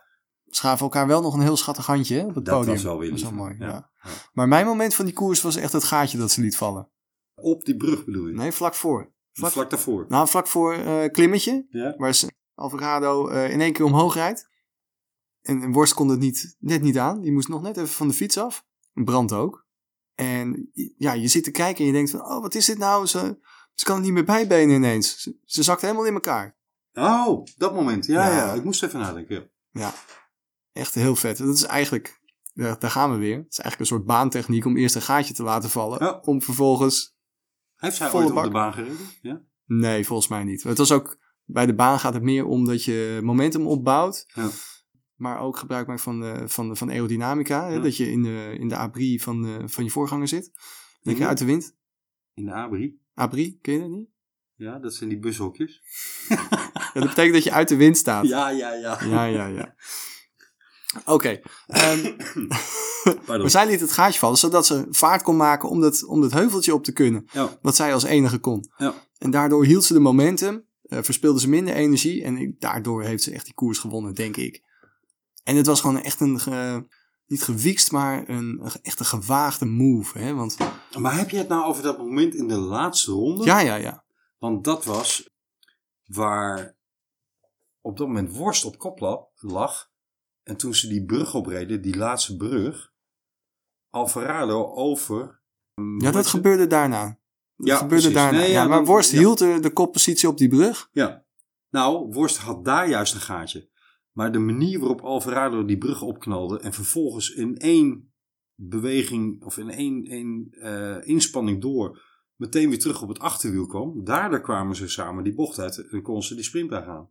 Speaker 2: schaven elkaar wel nog een heel schattig handje hè, op het
Speaker 1: Dat
Speaker 2: podium.
Speaker 1: was wel weer
Speaker 2: Dat
Speaker 1: lief,
Speaker 2: mooi,
Speaker 1: ja.
Speaker 2: ja. Maar mijn moment van die koers was echt het gaatje dat ze liet vallen.
Speaker 1: Op die brug bedoel je?
Speaker 2: Nee, vlak voor.
Speaker 1: vlak,
Speaker 2: vlak-
Speaker 1: daarvoor.
Speaker 2: Nou, vlak voor eh, klimmetje,
Speaker 1: Ja.
Speaker 2: waar ze Alvarado eh, in één keer omhoog rijdt. En, en Worst kon het niet, net niet aan. Die moest nog net even van de fiets af. Brandt ook. En ja, je zit te kijken en je denkt van, oh, wat is dit nou? Ze, ze kan het niet meer bijbenen ineens. Ze, ze zakt helemaal in elkaar.
Speaker 1: Oh, dat moment. Ja, ja.
Speaker 2: Ja.
Speaker 1: ik moest even nadenken. ja.
Speaker 2: Ja, echt heel vet. Dat is eigenlijk, ja, daar gaan we weer. Het is eigenlijk een soort baantechniek om eerst een gaatje te laten vallen.
Speaker 1: Ja.
Speaker 2: Om vervolgens
Speaker 1: Heeft zij
Speaker 2: Volle
Speaker 1: ooit op
Speaker 2: bak.
Speaker 1: de baan gereden? Ja.
Speaker 2: Nee, volgens mij niet. Het was ook, bij de baan gaat het meer om dat je momentum opbouwt.
Speaker 1: Ja.
Speaker 2: Maar ook gebruik maakt van, eh, van, van aerodynamica. Hè?
Speaker 1: Ja.
Speaker 2: Dat je in de, in de abri van, eh, van je voorganger zit. Lekker
Speaker 1: Mhm.
Speaker 2: uit de wind.
Speaker 1: In de Abri.
Speaker 2: Abri, ken je dat niet?
Speaker 1: Ja, dat zijn die bushokjes.
Speaker 2: Ja, dat betekent dat je uit de wind staat.
Speaker 1: Ja, ja, ja.
Speaker 2: ja, ja. ja. Oké. ehm,
Speaker 1: Pardon.
Speaker 2: maar zij liet het gaatje vallen, zodat ze vaart kon maken om dat, om dat heuveltje op te kunnen.
Speaker 1: Ja.
Speaker 2: Wat zij als enige kon.
Speaker 1: Ja.
Speaker 2: En daardoor hield ze de momentum, eh, verspeelde ze minder energie en ik- daardoor heeft ze echt die koers gewonnen, denk ik. En het was gewoon echt een, ge- niet gewiekst, maar een, een ge- echt een gewaagde move. Hè? Want,
Speaker 1: Maar heb je het nou over dat moment in de laatste ronde?
Speaker 2: ja, ja, ja.
Speaker 1: Want dat was waar op dat moment Worst op kop la- lag. En toen ze die brug opreden, die laatste brug, Alvarado over.
Speaker 2: Ja, dat gebeurde daarna. Dat
Speaker 1: Ja,
Speaker 2: gebeurde
Speaker 1: precies.
Speaker 2: daarna.
Speaker 1: Nee, ja,
Speaker 2: ja, maar
Speaker 1: dat-
Speaker 2: Worst
Speaker 1: ja.
Speaker 2: hield de, de koppositie op die brug.
Speaker 1: Ja. Nou, Worst had daar juist een gaatje. Maar de manier waarop Alvarado die brug opknalde en vervolgens in één beweging of in één, één eh, inspanning door meteen weer terug op het achterwiel kwam, daardoor kwamen ze samen die bocht uit en kon ze die sprint daar gaan.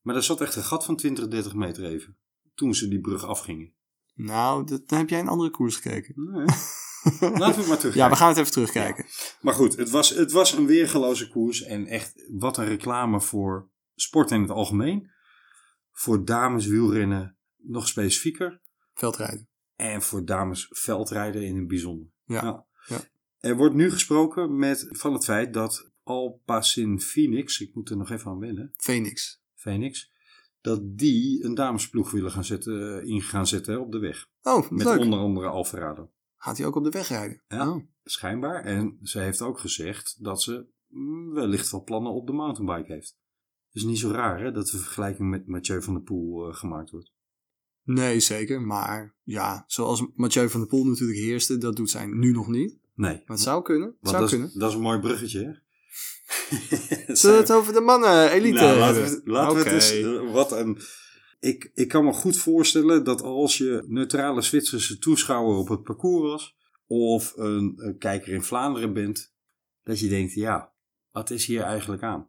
Speaker 1: Maar daar zat echt een gat van 20, 30 meter even. Toen ze die brug afgingen.
Speaker 2: Nou, dat, dan heb jij een andere koers gekeken.
Speaker 1: Nee. Laten we maar terug.
Speaker 2: Ja, we gaan het even terugkijken.
Speaker 1: Maar goed, het was, het was een weergeloze koers. En echt, wat een reclame voor sport in het algemeen. Voor dames wielrennen nog specifieker.
Speaker 2: Veldrijden.
Speaker 1: En voor dames veldrijden in het bijzonder.
Speaker 2: Ja.
Speaker 1: Nou,
Speaker 2: Ja.
Speaker 1: Er wordt nu gesproken met, van het feit dat Alpacin Phoenix, ik moet er nog even aan wennen,
Speaker 2: Phoenix.
Speaker 1: Phoenix, dat die een damesploeg willen gaan zetten, in gaan zetten hè, op de weg.
Speaker 2: Oh,
Speaker 1: Met
Speaker 2: leuk.
Speaker 1: onder andere Alvarado.
Speaker 2: Gaat hij ook op de weg rijden?
Speaker 1: Ja.
Speaker 2: Oh.
Speaker 1: Schijnbaar. En ze heeft ook gezegd dat ze mm, wellicht wel plannen op de mountainbike heeft. Het is niet zo raar hè, dat de vergelijking met Mathieu van der Poel eh, gemaakt wordt.
Speaker 2: Nee, zeker. Maar ja, zoals Mathieu van der Poel natuurlijk heerste, dat doet zij nu nog niet.
Speaker 1: Nee.
Speaker 2: Maar het zou kunnen. Het
Speaker 1: Want
Speaker 2: zou
Speaker 1: dat,
Speaker 2: kunnen.
Speaker 1: is, dat is een mooi bruggetje. Hè?
Speaker 2: Zullen we het over de mannen eh, elite
Speaker 1: Nou, laten we,
Speaker 2: hebben?
Speaker 1: het- laten we
Speaker 2: Oké.
Speaker 1: het eens. eh, Wat een. Ik, ik kan me goed voorstellen dat als je neutrale Zwitserse toeschouwer op het parcours was. of een, een kijker in Vlaanderen bent. dat je denkt: ja, wat is hier eigenlijk aan?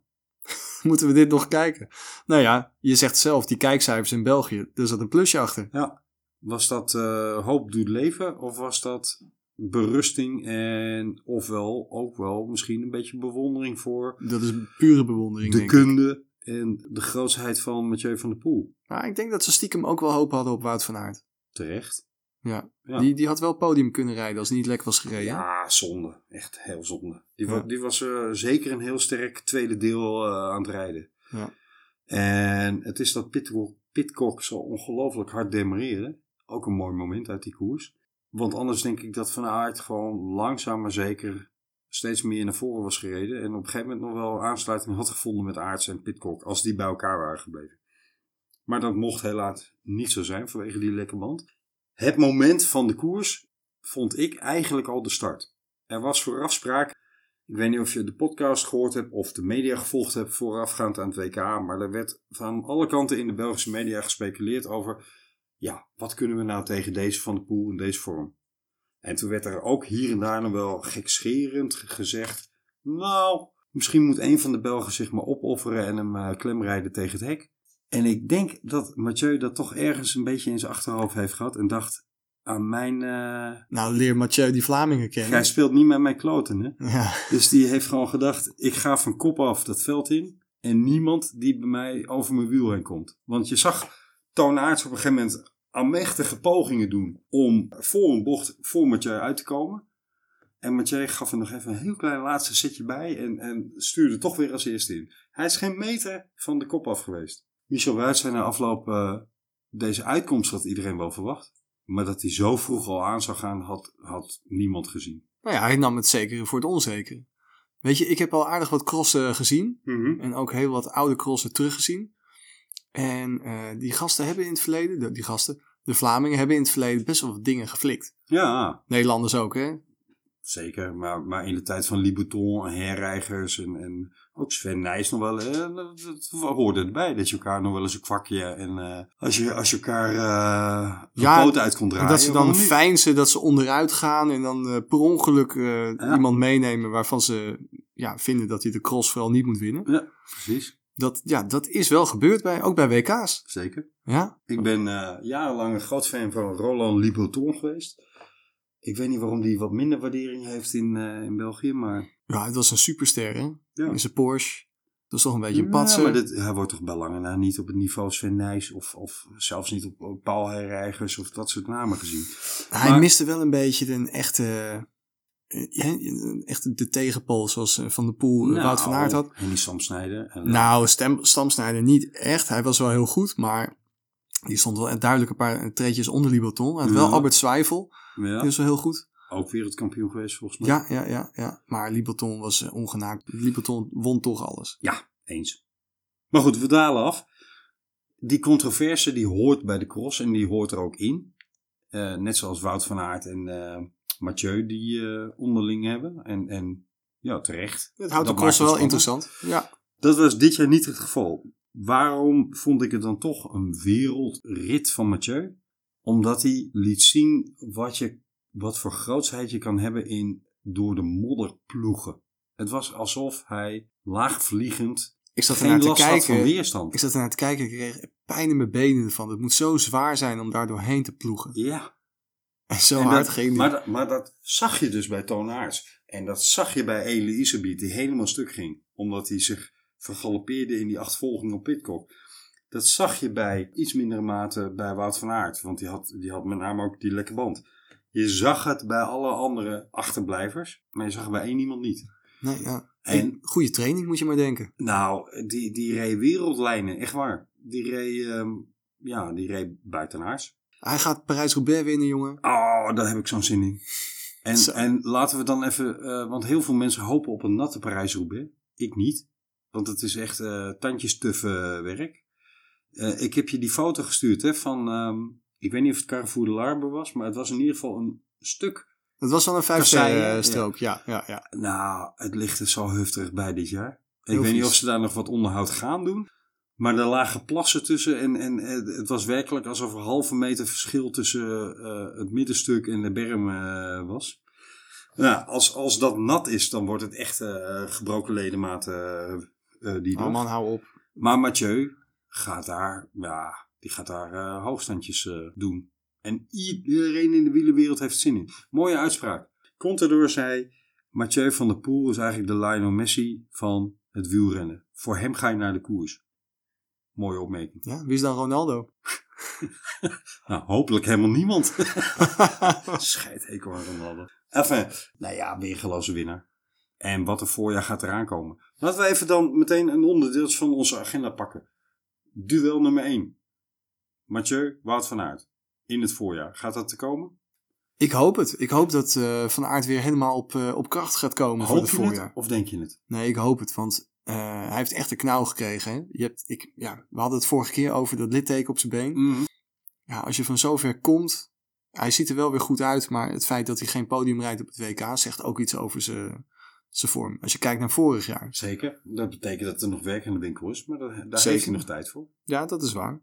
Speaker 2: Moeten we dit nog kijken? Nou ja, je zegt zelf, die kijkcijfers in België, er zat een plusje achter.
Speaker 1: Ja. Was dat eh, hoop doet leven of was dat berusting en ofwel ook wel misschien een beetje bewondering voor
Speaker 2: Dat is pure bewondering,
Speaker 1: de
Speaker 2: denk ik.
Speaker 1: kunde en de grootsheid van Mathieu van der Poel?
Speaker 2: Maar ik denk dat ze stiekem ook wel hoop hadden op Wout van Aert.
Speaker 1: Terecht.
Speaker 2: Ja.
Speaker 1: Ja.
Speaker 2: Die, die had wel podium kunnen rijden als hij niet lek was gereden. hè?
Speaker 1: Ja, zonde. Echt heel zonde. Die,
Speaker 2: Ja.
Speaker 1: was, die was eh, zeker een heel sterk tweede deel eh, aan het rijden.
Speaker 2: Ja.
Speaker 1: En het is dat Pitcock, Pitcock zo ongelooflijk hard demareren. Ook een mooi moment uit die koers. Want anders denk ik dat Van Aert gewoon langzaam maar zeker steeds meer naar voren was gereden. En op een gegeven moment nog wel aansluiting had gevonden met Aerts en Pitcock. Als die bij elkaar waren gebleven. Maar dat mocht helaas niet zo zijn vanwege die lekke band. Het moment van de koers vond ik eigenlijk al de start. Er was voorafspraak. Ik weet niet of je de podcast gehoord hebt of de media gevolgd hebt voorafgaand aan het WK. Maar er werd van alle kanten in de Belgische media gespeculeerd over. Ja, wat kunnen we nou tegen deze van de poel in deze vorm? En toen werd er ook hier en daar nog wel gekscherend ge- gezegd. Nou, misschien moet een van de Belgen zich maar opofferen en hem eh, klemrijden tegen het hek. En ik denk dat Mathieu dat toch ergens een beetje in zijn achterhoofd heeft gehad. En dacht aan mijn. eh,
Speaker 2: Nou, leer Mathieu die Vlamingen kennen.
Speaker 1: hij speelt niet met mijn kloten, hè?
Speaker 2: Ja.
Speaker 1: Dus die heeft gewoon gedacht: ik ga van kop af dat veld in. En niemand die bij mij over mijn wiel heen komt. Want je zag Toon Aerts op een gegeven moment aanmächtige pogingen doen. om voor een bocht voor Mathieu uit te komen. En Mathieu gaf er nog even een heel klein laatste zetje bij. En, en stuurde toch weer als eerste in. Hij is geen meter van de kop af geweest. Michel Wuits zei na afloop: eh, deze uitkomst had iedereen wel verwacht. Maar dat hij zo vroeg al aan zou gaan, had, had niemand gezien.
Speaker 2: Nou ja, hij nam het zekere voor het onzekere. Weet je, ik heb al aardig wat crossen gezien.
Speaker 1: Mhm.
Speaker 2: En ook heel wat oude crossen teruggezien. En eh, die gasten hebben in het verleden, de- die gasten, de Vlamingen hebben in het verleden best wel wat dingen geflikt.
Speaker 1: Ja,
Speaker 2: Nederlanders ook, hè?
Speaker 1: zeker. Maar, maar in de tijd van Libouton en Herreigers en, en ook Sven Nijs nog wel. eh, dat- dat hoorde erbij dat je elkaar nog wel eens een kwakje en eh, als, je, als je elkaar eh de
Speaker 2: Ja,
Speaker 1: poot uit kon draaien.
Speaker 2: dat ze dan
Speaker 1: waarom niet?
Speaker 2: feinzen dat ze onderuit gaan en dan eh, per ongeluk eh,
Speaker 1: Ja.
Speaker 2: iemand meenemen waarvan ze ja, vinden dat hij de cross vooral niet moet winnen.
Speaker 1: Ja, precies.
Speaker 2: Dat, ja, dat is wel gebeurd, bij, ook bij WK's.
Speaker 1: Zeker.
Speaker 2: Ja?
Speaker 1: Ik ben eh, jarenlang een groot fan van Roland Libouton geweest. Ik weet niet waarom die wat minder waardering heeft in, eh, in België, maar...
Speaker 2: ja, het was een superster, hè?
Speaker 1: Ja.
Speaker 2: In zijn Porsche. Dat is toch een beetje een
Speaker 1: Ja,
Speaker 2: patser.
Speaker 1: maar dit, hij wordt toch bij lange na niet op het niveau Sven Nijs of, of zelfs niet op- op Paul Herreigers of dat soort namen gezien.
Speaker 2: Hij
Speaker 1: Maar-
Speaker 2: miste wel een beetje een echte, eh, ja, een echte de tegenpool zoals eh, Van der Poel eh, Wout van Aert had.
Speaker 1: Nou, Henny Samsnijder. En
Speaker 2: Nou, stem, Stamsnijder niet echt. Hij was wel heel goed, maar die stond wel duidelijk een paar eh, treetjes onder Libaton. Hij had wel
Speaker 1: Ja.
Speaker 2: Albert Zwijvel,
Speaker 1: eh, ja,
Speaker 2: die was wel heel goed.
Speaker 1: ook wereldkampioen geweest volgens mij.
Speaker 2: dus- Ja, ja, ja. ja. Maar Libaton was eh, ongenaakt. Libaton won toch alles.
Speaker 1: Ja, eens. Maar goed, we dalen af. Die controverse die hoort bij de cross en die hoort er ook in. Eh, net zoals Wout van Aert en eh, Mathieu die eh, onderling hebben. En, en ja, terecht.
Speaker 2: Het houdt
Speaker 1: Dat
Speaker 2: de cross
Speaker 1: maakt
Speaker 2: wel
Speaker 1: het spannend.
Speaker 2: interessant. Ja.
Speaker 1: Dat was dit jaar niet het geval. Waarom vond ik het dan toch een wereldrit van Mathieu? Omdat hij liet zien wat, je, wat voor grootsheid je kan hebben in door de modder ploegen. Het was alsof hij laagvliegend
Speaker 2: Ik zat ernaar
Speaker 1: geen
Speaker 2: te
Speaker 1: last had van
Speaker 2: kijken.
Speaker 1: weerstand.
Speaker 2: Ik zat ernaar te kijken. Ik kreeg pijn in mijn benen van. Het moet zo zwaar zijn om daar doorheen te ploegen.
Speaker 1: Ja,
Speaker 2: En zo
Speaker 1: en
Speaker 2: hard
Speaker 1: dat,
Speaker 2: ging die.
Speaker 1: maar, dat, maar dat zag je dus bij Toon Aerts. En dat zag je bij Elisabeth, die helemaal stuk ging. Omdat hij zich vergalopeerde in die achtvolging op Pitcock. Dat zag je bij iets mindere mate bij Wout van Aert. Want die had, die had met name ook die lekke band. Je zag het bij alle andere achterblijvers. Maar je zag het bij één iemand niet.
Speaker 2: Nee, ja.
Speaker 1: En-
Speaker 2: goede training moet je maar denken.
Speaker 1: Nou, die, die reed wereldlijnen. Echt waar. Die reed, ehm, ja, die reed buitenaards.
Speaker 2: Hij gaat Parijs-Roubaix winnen, jongen.
Speaker 1: Oh, daar heb ik zo'n zin in. En,
Speaker 2: Zo.
Speaker 1: en laten we dan even, eh, want heel veel mensen hopen op een natte Parijs-Roubaix. Ik niet, want het is echt eh tandjes werk. Eh, ik heb je die foto gestuurd hè, van, ehm, ik weet niet of het Carrefour de Larbe was, maar het was in ieder geval een stuk
Speaker 2: Dat was wel een
Speaker 1: zei je,
Speaker 2: vijfsterren strook. Ja, ja, ja.
Speaker 1: Nou, het ligt er zo heftig bij dit jaar. Ik
Speaker 2: Heel
Speaker 1: weet niet
Speaker 2: vies.
Speaker 1: of ze daar nog wat onderhoud gaan doen. Maar er lagen plassen tussen en, en eh, het was werkelijk alsof er halve meter verschil tussen eh, het middenstuk en de berm eh, was. Nou, als, als dat nat is, dan wordt het echt eh, gebroken ledematen eh, eh, die
Speaker 2: Oh
Speaker 1: dag.
Speaker 2: man, hou op.
Speaker 1: Maar Mathieu gaat daar, ja, die gaat daar eh, hoogstandjes eh, doen. En iedereen in de wielenwereld heeft zin in. Mooie uitspraak. Contador zei, Mathieu van der Poel is eigenlijk de Lionel Messi van het wielrennen. Voor hem ga je naar de koers. Mooie opmerking.
Speaker 2: Ja, wie is dan Ronaldo?
Speaker 1: Nou, hopelijk helemaal niemand. Scheidhekel aan Ronaldo. Enfin, nou ja, weer geloze winnaar. En wat er voorjaar gaat eraan komen. Laten we even dan meteen een onderdeel van onze agenda pakken. Duel nummer 1. Mathieu, Wout van Aert. In het voorjaar. Gaat dat te komen?
Speaker 2: Ik hoop het. Ik hoop dat eh, Van Aert weer helemaal op, eh, op kracht gaat komen voor
Speaker 1: Hoop
Speaker 2: het
Speaker 1: je
Speaker 2: voorjaar.
Speaker 1: het of denk je het?
Speaker 2: Nee, ik hoop het, want eh, hij heeft echt een knauw gekregen. Hè? Je hebt, ik, ja, we hadden het vorige keer over dat litteken op zijn been. Ja, als je van zover komt, hij ziet er wel weer goed uit, maar het feit dat hij geen podium rijdt op het WK zegt ook iets over zijn zijn vorm. Als je kijkt naar vorig jaar.
Speaker 1: Zeker. Dat betekent dat er nog werk aan de winkel is. Maar dat- daar
Speaker 2: Zeker.
Speaker 1: heeft hij nog tijd voor.
Speaker 2: Ja, dat is waar.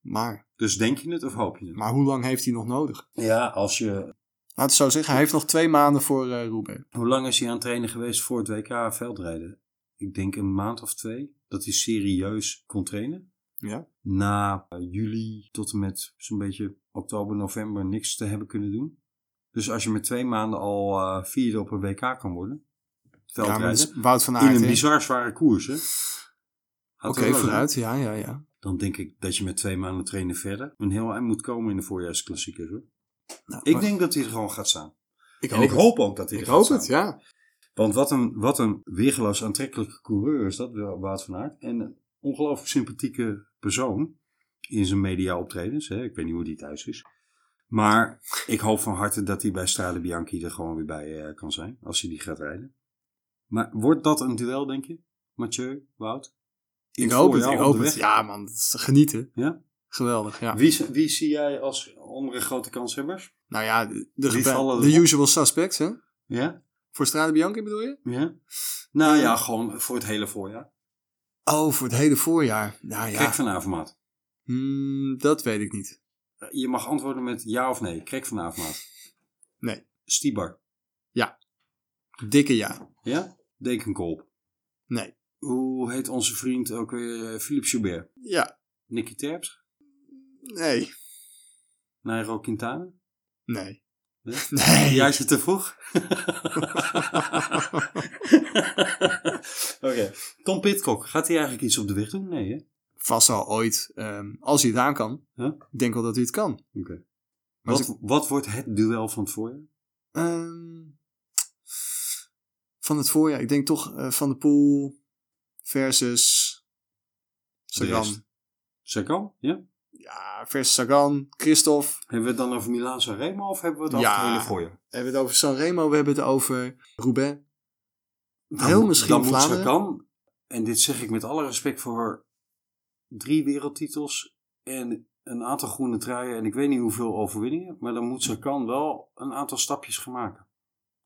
Speaker 2: Maar,
Speaker 1: Dus denk je het of hoop je het?
Speaker 2: maar hoe lang heeft hij nog nodig?
Speaker 1: Ja, als je...
Speaker 2: Laat het zo zeggen, hij heeft nog twee maanden voor eh Roubaix.
Speaker 1: Hoe lang is hij aan het trainen geweest voor het WK veldrijden? Ik denk een maand of twee. Dat hij serieus kon trainen.
Speaker 2: Ja?
Speaker 1: na eh, juli tot en met zo'n beetje oktober, november niks te hebben kunnen doen. Dus als je met twee maanden al eh, vierde op een WK kan worden,
Speaker 2: Ja, maar
Speaker 1: veldrijden,
Speaker 2: het is Wout van
Speaker 1: in
Speaker 2: Aert.
Speaker 1: een
Speaker 2: hè?
Speaker 1: bizar zware koers, hè? Gaat
Speaker 2: Oké,
Speaker 1: er wel aan.
Speaker 2: vooruit. Ja, ja, ja.
Speaker 1: Dan denk ik dat je met twee maanden trainen verder een heel eind moet komen in de voorjaarsklassieker. Hoor.
Speaker 2: Nou,
Speaker 1: Ik
Speaker 2: maar-
Speaker 1: denk dat hij er gewoon gaat staan.
Speaker 2: ik
Speaker 1: en ik
Speaker 2: het.
Speaker 1: hoop ook dat hij
Speaker 2: Ik
Speaker 1: er gaat
Speaker 2: hoop
Speaker 1: staan.
Speaker 2: het, ja.
Speaker 1: Want wat een, wat een weergeloos aantrekkelijke coureur is dat, Wout van Aert. En een ongelooflijk sympathieke persoon in zijn media optredens. Hè. Ik weet niet hoe die thuis is. Maar ik hoop van harte dat hij bij Strade Bianchi er gewoon weer bij eh, kan zijn. Als hij die gaat rijden. Maar wordt dat een duel, denk je? Mathieu, Wout? In
Speaker 2: Ik hoop het,
Speaker 1: voorjaar
Speaker 2: ik
Speaker 1: op
Speaker 2: hoop
Speaker 1: de
Speaker 2: het.
Speaker 1: weg?
Speaker 2: Ja, man, het is genieten.
Speaker 1: Ja?
Speaker 2: Geweldig, ja.
Speaker 1: Wie, wie zie jij als andere grote kanshebbers?
Speaker 2: Nou ja, de, de,
Speaker 1: Wie
Speaker 2: gebe-
Speaker 1: vallen
Speaker 2: de
Speaker 1: erop?
Speaker 2: usual suspects, hè?
Speaker 1: Ja?
Speaker 2: Voor Strade Bianchi bedoel je?
Speaker 1: ja? Nou ja, gewoon voor het hele voorjaar.
Speaker 2: Oh, voor het hele voorjaar. Nou ja,
Speaker 1: Kijk vanavond, maat.
Speaker 2: hmm, dat weet ik niet.
Speaker 1: Eh, Je mag antwoorden met ja of nee. Krek van Avermaat.
Speaker 2: Nee.
Speaker 1: Stibar.
Speaker 2: Dikke ja.
Speaker 1: Ja? Dekenkolp.
Speaker 2: Nee.
Speaker 1: Hoe heet onze vriend ook weer? Philip Joubert.
Speaker 2: Ja,
Speaker 1: Nicky Terps.
Speaker 2: nee.
Speaker 1: Nairo Quintana.
Speaker 2: Nee.
Speaker 1: Nee?
Speaker 2: Nee.
Speaker 1: Jij zit te vroeg. Oké. Tom Pitcock. Gaat hij eigenlijk iets op de weg doen? Nee, hè?
Speaker 2: Vast al ooit, ehm, als hij het aan kan.
Speaker 1: Huh?
Speaker 2: Ik denk wel dat hij het kan.
Speaker 1: Oké.
Speaker 2: Maar
Speaker 1: Wat,
Speaker 2: ze-
Speaker 1: wat wordt het duel van het voorjaar?
Speaker 2: Ehm, van het voorjaar, ik denk toch eh, Van de Poel versus
Speaker 1: De
Speaker 2: Sagan.
Speaker 1: rest. Sagan? Ja?
Speaker 2: Ja, versus Sagan, Christophe.
Speaker 1: Hebben we het dan over Milaan Sanremo of hebben we het over
Speaker 2: Ja.
Speaker 1: het hele voorjaar?
Speaker 2: We hebben het over Sanremo, we hebben het over Roubaix. Heel
Speaker 1: moet-
Speaker 2: misschien
Speaker 1: dan
Speaker 2: Vlaanderen.
Speaker 1: moet Sagan, en dit zeg ik met alle respect voor drie wereldtitels en een aantal groene truien en ik weet niet hoeveel overwinningen, maar dan moet Sagan wel een aantal stapjes gaan maken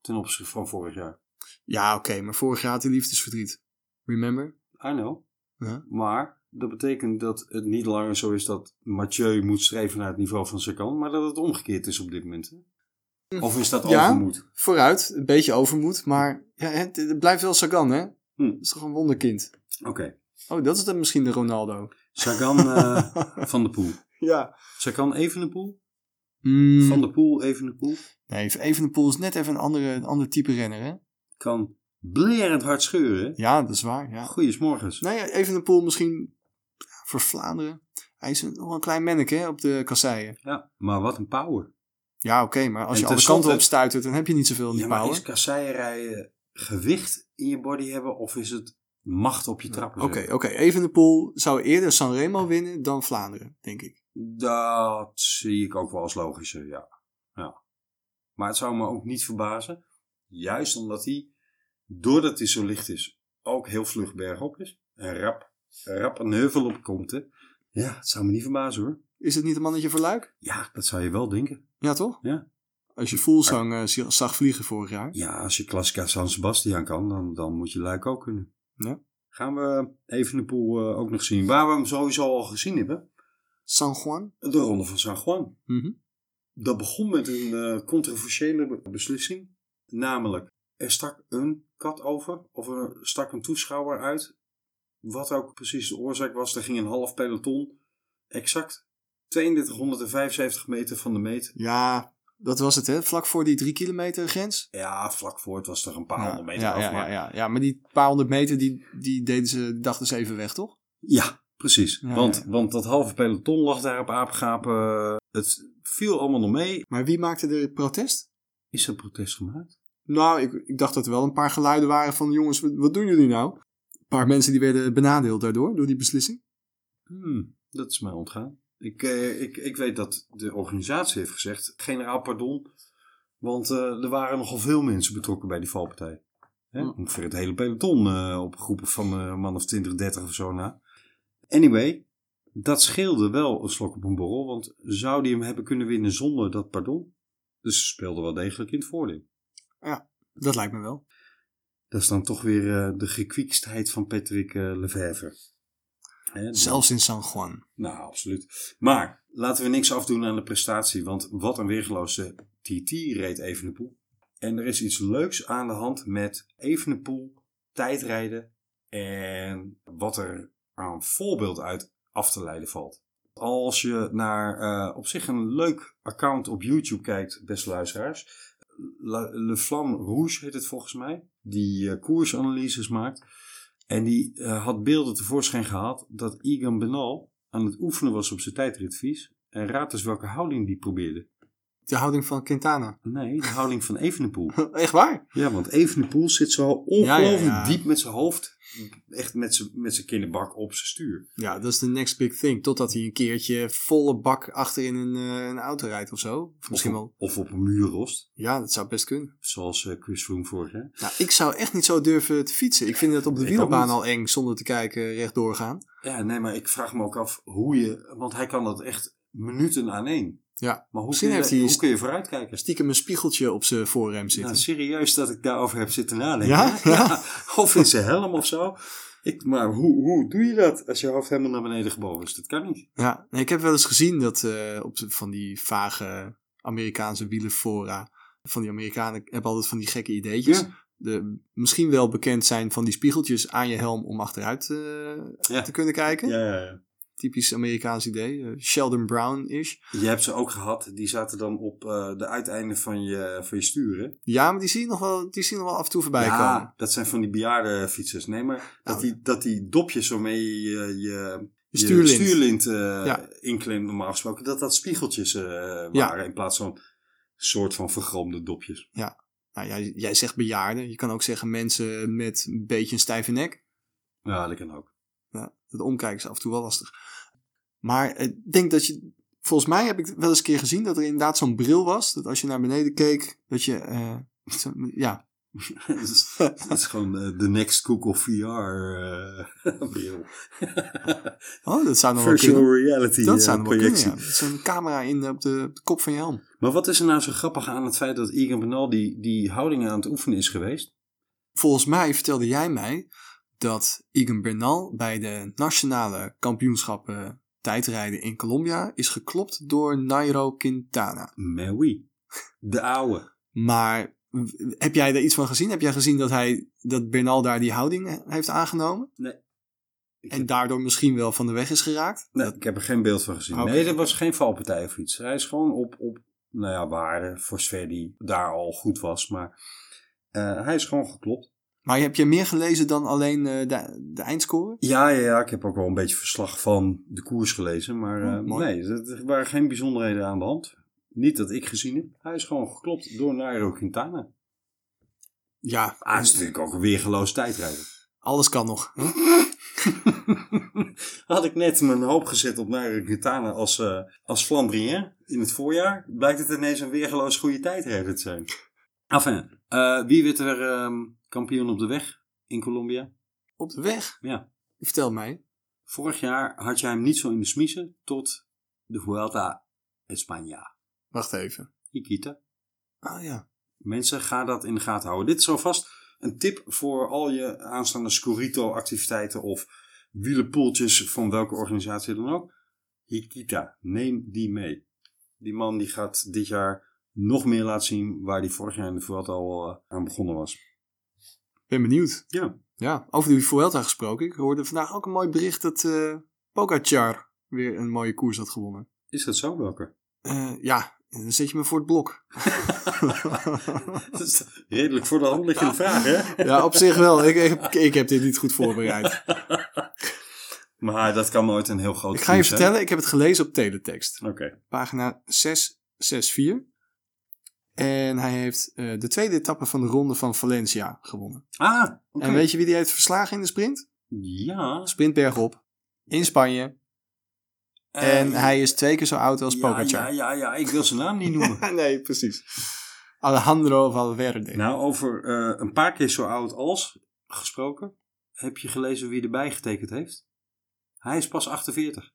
Speaker 1: ten opzichte van vorig jaar.
Speaker 2: Ja, oké, maar vorig jaar had hij liefdesverdriet. Remember?
Speaker 1: I know,
Speaker 2: Ja.
Speaker 1: maar dat betekent dat het niet langer zo is dat Mathieu moet streven naar het niveau van Sagan, maar dat het omgekeerd is op dit moment. hè? Of is dat
Speaker 2: Ja.
Speaker 1: overmoed?
Speaker 2: Vooruit, een beetje overmoed, maar ja, het, het blijft wel Sagan, hè?
Speaker 1: Hm.
Speaker 2: Dat is toch een wonderkind.
Speaker 1: Oké,
Speaker 2: Oh, dat is dan misschien de Ronaldo.
Speaker 1: Sagan eh, van de Poel.
Speaker 2: Ja.
Speaker 1: Sagan even de Poel?
Speaker 2: Mm,
Speaker 1: Van de Poel even de Poel?
Speaker 2: Nee, Evenepoel is net even een, andere, een ander type renner, hè?
Speaker 1: kan blerend hard scheuren.
Speaker 2: Ja, dat is waar, ja.
Speaker 1: Goedemorgens.
Speaker 2: Nou ja, Evenepoel misschien ja, voor Vlaanderen. Hij is een, nog een klein manneke, hè, op de kasseien.
Speaker 1: Ja, maar wat een power.
Speaker 2: Ja, oké, maar als
Speaker 1: En
Speaker 2: je alle
Speaker 1: tenslotte-
Speaker 2: kanten op stuitert, dan heb je niet zoveel in die
Speaker 1: Ja, maar
Speaker 2: power.
Speaker 1: is kasseierrijden gewicht in je body hebben of is het macht op je trappen?
Speaker 2: Oké, oké. Evenepoel zou eerder Sanremo winnen dan Vlaanderen, denk ik.
Speaker 1: Dat zie ik ook wel als logischer, ja. ja. Maar het zou me ook niet verbazen, juist omdat hij, doordat hij zo licht is, ook heel vlug bergop is. En rap, rap een heuvel opkomt, hè. Ja, het zou me niet verbazen hoor.
Speaker 2: Is het niet een mannetje voor Luik?
Speaker 1: Ja, dat zou je wel denken.
Speaker 2: Ja, toch?
Speaker 1: Ja.
Speaker 2: Als je Voelsang eh, zie- zag vliegen vorig jaar.
Speaker 1: Ja, als je Klassica San Sebastian kan, dan, dan moet je Luik ook kunnen.
Speaker 2: Ja.
Speaker 1: Gaan we even de pool ook nog zien. Waar we hem sowieso al gezien hebben.
Speaker 2: San Juan.
Speaker 1: De Ronde van San Juan.
Speaker 2: Mhm.
Speaker 1: Dat begon met een eh, controversiële be- beslissing. Namelijk, er stak een kat over. Of er stak een toeschouwer uit. Wat ook precies de oorzaak was. Er ging een half peloton. Exact 3275 meter van de meet.
Speaker 2: Ja, dat was het hè. Vlak voor die drie kilometer grens.
Speaker 1: Ja, vlak voor het was er een paar
Speaker 2: Ja,
Speaker 1: honderd meter
Speaker 2: ja,
Speaker 1: af.
Speaker 2: ja,
Speaker 1: maar
Speaker 2: ja, ja, ja, maar die paar honderd meter, die, die deden ze, die dachten ze even weg, toch?
Speaker 1: Ja, precies.
Speaker 2: Ja,
Speaker 1: want,
Speaker 2: ja.
Speaker 1: want dat halve peloton lag daar op aapgapen. Het viel allemaal nog mee.
Speaker 2: Maar wie maakte de protest?
Speaker 1: Is er protest gemaakt?
Speaker 2: Nou, ik, ik dacht dat er wel een paar geluiden waren van jongens, wat, wat doen jullie nou? Een paar mensen die werden benadeeld daardoor, door die beslissing.
Speaker 1: Hmm, dat is mij ontgaan. Ik, eh, ik, ik weet dat de organisatie heeft gezegd, generaal pardon, want eh, er waren nogal veel mensen betrokken bij die valpartij. Hè?
Speaker 2: Hm.
Speaker 1: Ongeveer het hele peloton eh, op groepen van eh, man of 20, 30 of zo na. Anyway, dat scheelde wel een slok op een borrel, want zou die hem hebben kunnen winnen zonder dat pardon? Dus ze speelden wel degelijk in het voordeel.
Speaker 2: Dat lijkt me wel.
Speaker 1: Dat is dan toch weer eh, de gekwiekstheid van Patrick eh Lefevre. Hè, die-
Speaker 2: Zelfs in San Juan.
Speaker 1: Nou, absoluut. Maar laten we niks afdoen aan de prestatie. Want wat een weergeloze TT reed Evenepoel. En er is iets leuks aan de hand met Evenepoel, tijdrijden en wat er aan voorbeeld uit af te leiden valt. Als je naar eh, op zich een leuk account op YouTube kijkt, beste luisteraars. La- Le Flamme Rouge heet het volgens mij. Die eh, koersanalyses maakt. En die eh, had beelden tevoorschijn gehaald dat Egan Benal aan het oefenen was op zijn tijdritvies. En raad eens welke houding die probeerde.
Speaker 2: De houding van Quintana.
Speaker 1: Nee, de houding van Evenepoel.
Speaker 2: Echt waar?
Speaker 1: Ja, want Evenepoel zit zo ongelooflijk
Speaker 2: Ja, ja, ja.
Speaker 1: diep met zijn hoofd. Echt met zijn, met zijn kinderbak op zijn stuur.
Speaker 2: Ja, dat is de next big thing. Totdat hij een keertje volle bak achterin een, eh, een auto rijdt of zo. Of misschien
Speaker 1: of,
Speaker 2: wel.
Speaker 1: Of op een muur rost.
Speaker 2: Ja, dat zou best kunnen.
Speaker 1: Zoals eh, Chris Froome vorig jaar.
Speaker 2: Nou, ik zou echt niet zo durven te fietsen. Ik vind dat op de
Speaker 1: Ik ook
Speaker 2: wielerbaan
Speaker 1: niet.
Speaker 2: al eng, zonder te kijken, rechtdoor gaan.
Speaker 1: Ja, nee, maar ik vraag me ook af hoe je... Want hij kan dat echt minuten aan één.
Speaker 2: Ja,
Speaker 1: Maar hoe,
Speaker 2: Misschien
Speaker 1: kun je,
Speaker 2: heeft hij-
Speaker 1: hoe kun je vooruitkijken?
Speaker 2: stiekem een spiegeltje op zijn voorrem
Speaker 1: Nou,
Speaker 2: zitten.
Speaker 1: serieus dat ik daarover heb zitten nadenken.
Speaker 2: Ja?
Speaker 1: Of in zijn helm of zo. Ik, maar hoe, hoe doe je dat als je hoofd helemaal naar beneden gebogen is? Dat kan niet.
Speaker 2: Ja, nee, ik heb wel eens gezien dat eh, op de- van die vage Amerikaanse wielenfora. Van die Amerikanen hebben altijd van die gekke ideetjes. De, misschien wel bekend zijn van die spiegeltjes aan je helm om achteruit eh,
Speaker 1: Ja.
Speaker 2: te kunnen kijken.
Speaker 1: Ja, ja, ja.
Speaker 2: Typisch Amerikaans idee. eh, Sheldon Brown-ish.
Speaker 1: Je hebt ze ook gehad. Die zaten dan op eh, de uiteinden van je, van je sturen.
Speaker 2: Ja, maar die zie je nog wel, die zie je nog wel af en toe voorbij komen.
Speaker 1: dat zijn van die bejaarde fietsers. Nee, maar dat,
Speaker 2: Nou,
Speaker 1: die, dat die dopjes waarmee je je, je
Speaker 2: Je stuurlint.
Speaker 1: stuurlint eh,
Speaker 2: Ja.
Speaker 1: inklemt normaal gesproken. Dat dat spiegeltjes eh, waren in plaats van soort van vergromde dopjes.
Speaker 2: Nou, jij, jij zegt bejaarden. Je kan ook zeggen mensen met een beetje een stijve nek.
Speaker 1: Ja, dat kan ook.
Speaker 2: Ja, dat omkijken is af en toe wel lastig. Maar eh, ik denk dat je... Volgens mij heb ik wel eens een keer gezien dat er inderdaad zo'n bril was. Dat als je naar beneden keek, dat je... eh, zo- ja,
Speaker 1: Het is, het is gewoon eh, de next Google eh, VR-bril.
Speaker 2: oh, dat zou nog wel kunnen.
Speaker 1: Virtual reality
Speaker 2: Dat
Speaker 1: eh,
Speaker 2: zou nog wel kunnen,
Speaker 1: projectie.
Speaker 2: ja. Dat is Zo'n camera in, eh, op, de, op de kop van je helm.
Speaker 1: Maar wat is er nou zo grappig aan het feit dat Egan Benal die, die houding aan het oefenen is geweest?
Speaker 2: Volgens mij vertelde jij mij dat Egan Bernal bij de nationale kampioenschappen tijdrijden in Colombia is geklopt door Nairo Quintana.
Speaker 1: Mais oui. De oude.
Speaker 2: Maar w- heb jij daar iets van gezien? Heb jij gezien dat, hij, dat Bernal daar die houding eh, heeft aangenomen?
Speaker 1: Nee. Ik
Speaker 2: En
Speaker 1: heb-
Speaker 2: daardoor misschien wel van de weg is geraakt?
Speaker 1: Nee, ik heb er geen beeld van gezien.
Speaker 2: Oké.
Speaker 1: Nee, dat was geen valpartij of iets. Hij is gewoon op, op nou ja, waarde, voor zover die daar al goed was. Maar eh, hij is gewoon geklopt.
Speaker 2: Maar heb je meer gelezen dan alleen eh, de, de eindscore?
Speaker 1: Ja, ja, ja, ik heb ook wel een beetje verslag van de koers gelezen. Maar
Speaker 2: Oh,
Speaker 1: eh,
Speaker 2: mooi.
Speaker 1: nee, er er waren geen bijzonderheden aan de hand. Niet dat ik gezien heb. Hij is gewoon geklopt door Nairo Quintana.
Speaker 2: Ja,
Speaker 1: Ah, hij is natuurlijk ook een weergeloos tijdrijder.
Speaker 2: alles kan nog.
Speaker 1: Had ik net mijn hoop gezet op Nairo Quintana als, eh als Flandrien in het voorjaar, blijkt het ineens een weergeloos goede tijdrijder te zijn. Enfin, eh, wie werd er ehm, kampioen op de weg in Colombia?
Speaker 2: Op de weg?
Speaker 1: Ja.
Speaker 2: Vertel mij.
Speaker 1: Vorig jaar had je hem niet zo in de smiezen tot de Vuelta España.
Speaker 2: Wacht even.
Speaker 1: Nikita.
Speaker 2: Oh ja.
Speaker 1: Mensen, ga dat in de gaten houden. Dit is alvast een tip voor al je aanstaande Scorito-activiteiten of wielenpoeltjes van welke organisatie dan ook. Hikita, neem die mee. Die man die gaat dit jaar nog meer laten zien waar hij vorig jaar in de Vuelta al eh, aan begonnen was.
Speaker 2: Ben benieuwd.
Speaker 1: Ja,
Speaker 2: Ja, over de Vuelta gesproken. Ik hoorde vandaag ook een mooi bericht dat eh Pogacar weer een mooie koers had gewonnen.
Speaker 1: is dat zo welke?
Speaker 2: Eh, ja, dan zet je me voor het blok.
Speaker 1: dat is redelijk voor de hand liggende vraag, hè?
Speaker 2: ja, op zich wel. Ik, ik, ik heb dit niet goed voorbereid.
Speaker 1: Maar dat kan nooit een heel groot
Speaker 2: Ik ga je
Speaker 1: nieuws zijn.
Speaker 2: vertellen, ik heb het gelezen op teletext.
Speaker 1: Oké.
Speaker 2: pagina 664. En hij heeft eh, de tweede etappe van de ronde van Valencia gewonnen.
Speaker 1: Ah, oké.
Speaker 2: En weet je wie die heeft verslagen in de sprint?
Speaker 1: Ja.
Speaker 2: Sprint bergop. In Spanje. en
Speaker 1: Eh,
Speaker 2: hij is twee keer zo oud als
Speaker 1: ja,
Speaker 2: Pogacar.
Speaker 1: ja, ja, ja, ik wil zijn naam niet noemen.
Speaker 2: nee, precies. Alejandro Valverde.
Speaker 1: Nou, over eh, een paar keer zo oud als gesproken. Heb je gelezen wie erbij getekend heeft? Hij is pas 48.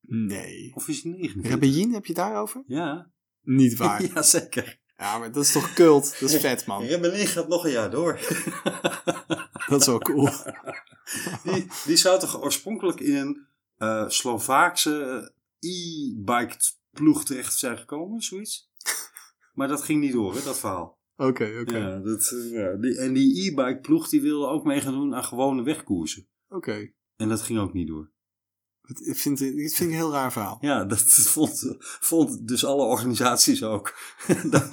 Speaker 2: Nee.
Speaker 1: Of is hij 49?
Speaker 2: Rebellin, heb je daarover?
Speaker 1: Ja.
Speaker 2: Niet waar. Oh.
Speaker 1: ja, zeker.
Speaker 2: Ja, maar dat is toch cult? Dat is vet, man.
Speaker 1: Rebellin gaat nog een jaar door.
Speaker 2: Dat is wel cool.
Speaker 1: die, die zou toch oorspronkelijk in een eh, Slovaakse eh, e-bike ploeg terecht zijn gekomen, zoiets? Maar dat ging niet door, hè, dat verhaal.
Speaker 2: Oké, oké.
Speaker 1: Ja, dat, eh, ja, die, en die e-bike ploeg die wilde ook mee gaan doen aan gewone wegkoersen.
Speaker 2: Oké.
Speaker 1: En dat ging ook niet door.
Speaker 2: Dat Dit vind, dit vind ik een heel raar verhaal.
Speaker 1: Ja, dat vond, vond dus alle organisaties ook. Da-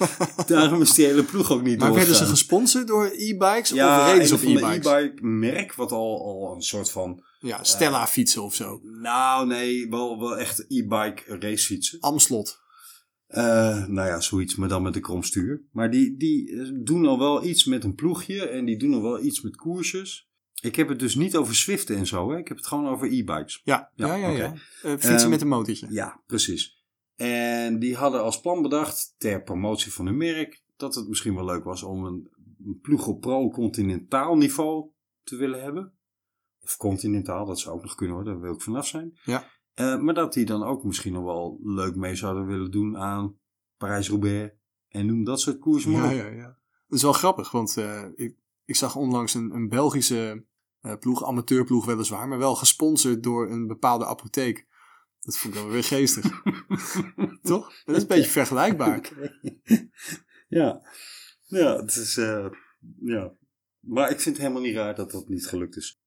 Speaker 1: Daarom is die hele ploeg ook niet
Speaker 2: Maar werden ze
Speaker 1: doorgegaan.
Speaker 2: gesponsord door e-bikes of
Speaker 1: ja,
Speaker 2: reden ze
Speaker 1: een
Speaker 2: op
Speaker 1: van de
Speaker 2: e-bikes?
Speaker 1: e-bike merk wat al, al een soort van...
Speaker 2: Ja, Stella fietsen of zo.
Speaker 1: Nou nee, wel, wel echt e-bike racefietsen.
Speaker 2: Amslot.
Speaker 1: Eh, nou ja, zoiets, maar dan met een krom stuur. Maar die, die eh, doen al wel iets met een ploegje en die doen al wel iets met koersjes. Ik heb het dus niet over Swiften en zo, hè. ik heb het gewoon over e-bikes.
Speaker 2: Ja, ja,
Speaker 1: Ja,
Speaker 2: ja. ja,
Speaker 1: oké.
Speaker 2: Eh, fietsen
Speaker 1: Ehm,
Speaker 2: met een motortje.
Speaker 1: Ja, precies. En die hadden als plan bedacht, ter promotie van hun merk, dat het misschien wel leuk was om een een ploeg op pro-continentaal niveau te willen hebben. Of continentaal, dat zou ook nog kunnen hoor, daar wil ik vanaf zijn.
Speaker 2: Ja.
Speaker 1: Eh, maar dat die dan ook misschien nog wel leuk mee zouden willen doen aan Parijs-Roubaix en noem dat soort koersen maar
Speaker 2: Ja,
Speaker 1: op.
Speaker 2: ja, ja. Dat is wel grappig, want eh, ik, ik zag onlangs een, een Belgische eh, ploeg, amateurploeg weliswaar, maar wel gesponsord door een bepaalde apotheek. Dat vond ik dan weer geestig. Toch? Dat is een beetje vergelijkbaar.
Speaker 1: ja. ja, het is. eh, ja. Maar ik vind het helemaal niet raar dat dat niet gelukt is.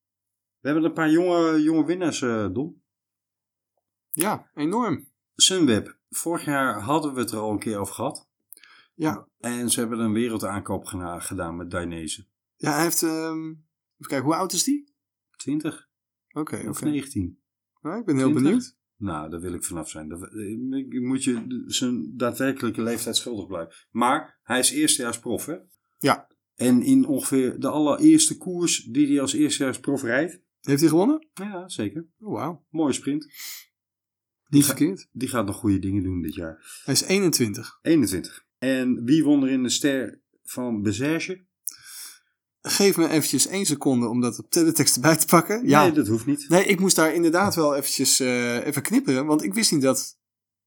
Speaker 1: We hebben een paar jonge, jonge winnaars, eh, Dom.
Speaker 2: Ja, enorm.
Speaker 1: Sunweb. Vorig jaar hadden we het er al een keer over gehad.
Speaker 2: Ja.
Speaker 1: En ze hebben een wereldaankoop gena- gedaan met Dainese.
Speaker 2: Ja, hij heeft... ehm, even kijken, hoe oud is die?
Speaker 1: 20
Speaker 2: Oké, oké.
Speaker 1: of 19.
Speaker 2: Nou, ik ben heel
Speaker 1: 20?
Speaker 2: benieuwd.
Speaker 1: Nou, daar wil ik vanaf zijn. Dat- eh, Ik moet je de- zijn daadwerkelijke leeftijd schuldig blijven. Maar hij is eerstejaarsprof, hè?
Speaker 2: Ja.
Speaker 1: En in ongeveer de allereerste koers die hij als eerstejaarsprof rijdt.
Speaker 2: Heeft hij gewonnen?
Speaker 1: Ja, zeker.
Speaker 2: Oh, wauw.
Speaker 1: Mooie sprint.
Speaker 2: Niet verkeerd.
Speaker 1: Die gaat nog goede dingen doen dit jaar.
Speaker 2: Hij is 21.
Speaker 1: 21. En wie won er in de ster van Bezerge?
Speaker 2: Geef me eventjes één seconde om dat op teletext erbij te pakken. Ja.
Speaker 1: Nee, dat hoeft niet.
Speaker 2: Nee, ik moest daar inderdaad wel eventjes eh, even knipperen. Want ik wist niet dat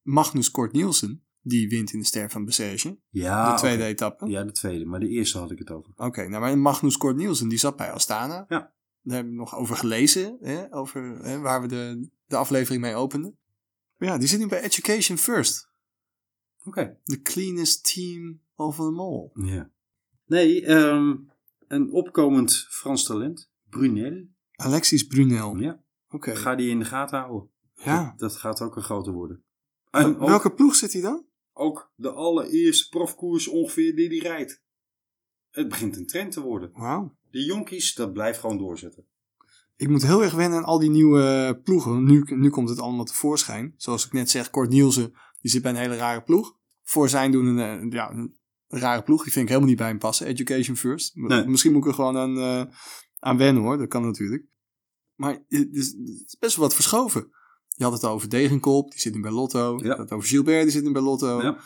Speaker 2: Magnus Kort Nielsen, die wint in de Ster van Bessage,
Speaker 1: Ja,
Speaker 2: de tweede
Speaker 1: Ah, oké.
Speaker 2: etappe.
Speaker 1: Ja, de tweede, maar de eerste had ik het over.
Speaker 2: Oké, nou maar Magnus Kort Nielsen, die zat bij Astana.
Speaker 1: Ja.
Speaker 2: Daar hebben we nog over gelezen, hè, over, hè, waar we de, de aflevering mee openden. Maar ja, die zit nu bij Education First.
Speaker 1: Oké.
Speaker 2: The cleanest team of them all.
Speaker 1: Ja. Nee, ehm, een opkomend Frans talent, Brunel.
Speaker 2: Alexis Brunel.
Speaker 1: Ja,
Speaker 2: Oké.
Speaker 1: ga die in de gaten houden.
Speaker 2: Ja.
Speaker 1: Dat, dat gaat ook een grote worden. En ook,
Speaker 2: Welke ploeg zit hij dan?
Speaker 1: ook de allereerste profkoers ongeveer die die rijdt. Het begint een trend te worden.
Speaker 2: Wauw.
Speaker 1: De jonkies, dat blijft gewoon doorzetten.
Speaker 2: Ik moet heel erg wennen aan al die nieuwe eh, ploegen. want Nu, nu komt het allemaal tevoorschijn. Zoals ik net zeg, Kort Nielsen, die zit bij een hele rare ploeg. Voor zijn doen een, eh, ja, een rare ploeg. Die vind ik helemaal niet bij hem passen. Education first. M-
Speaker 1: Nee.
Speaker 2: Misschien moet ik er gewoon aan, eh, aan wennen hoor. Dat kan natuurlijk. Maar eh, het is, het is best wel wat verschoven. Je had het al over Degenkolb, die zit nu bij Lotto. Je
Speaker 1: Ja.
Speaker 2: had het over Gilbert, die zit nu bij Lotto.
Speaker 1: Ja.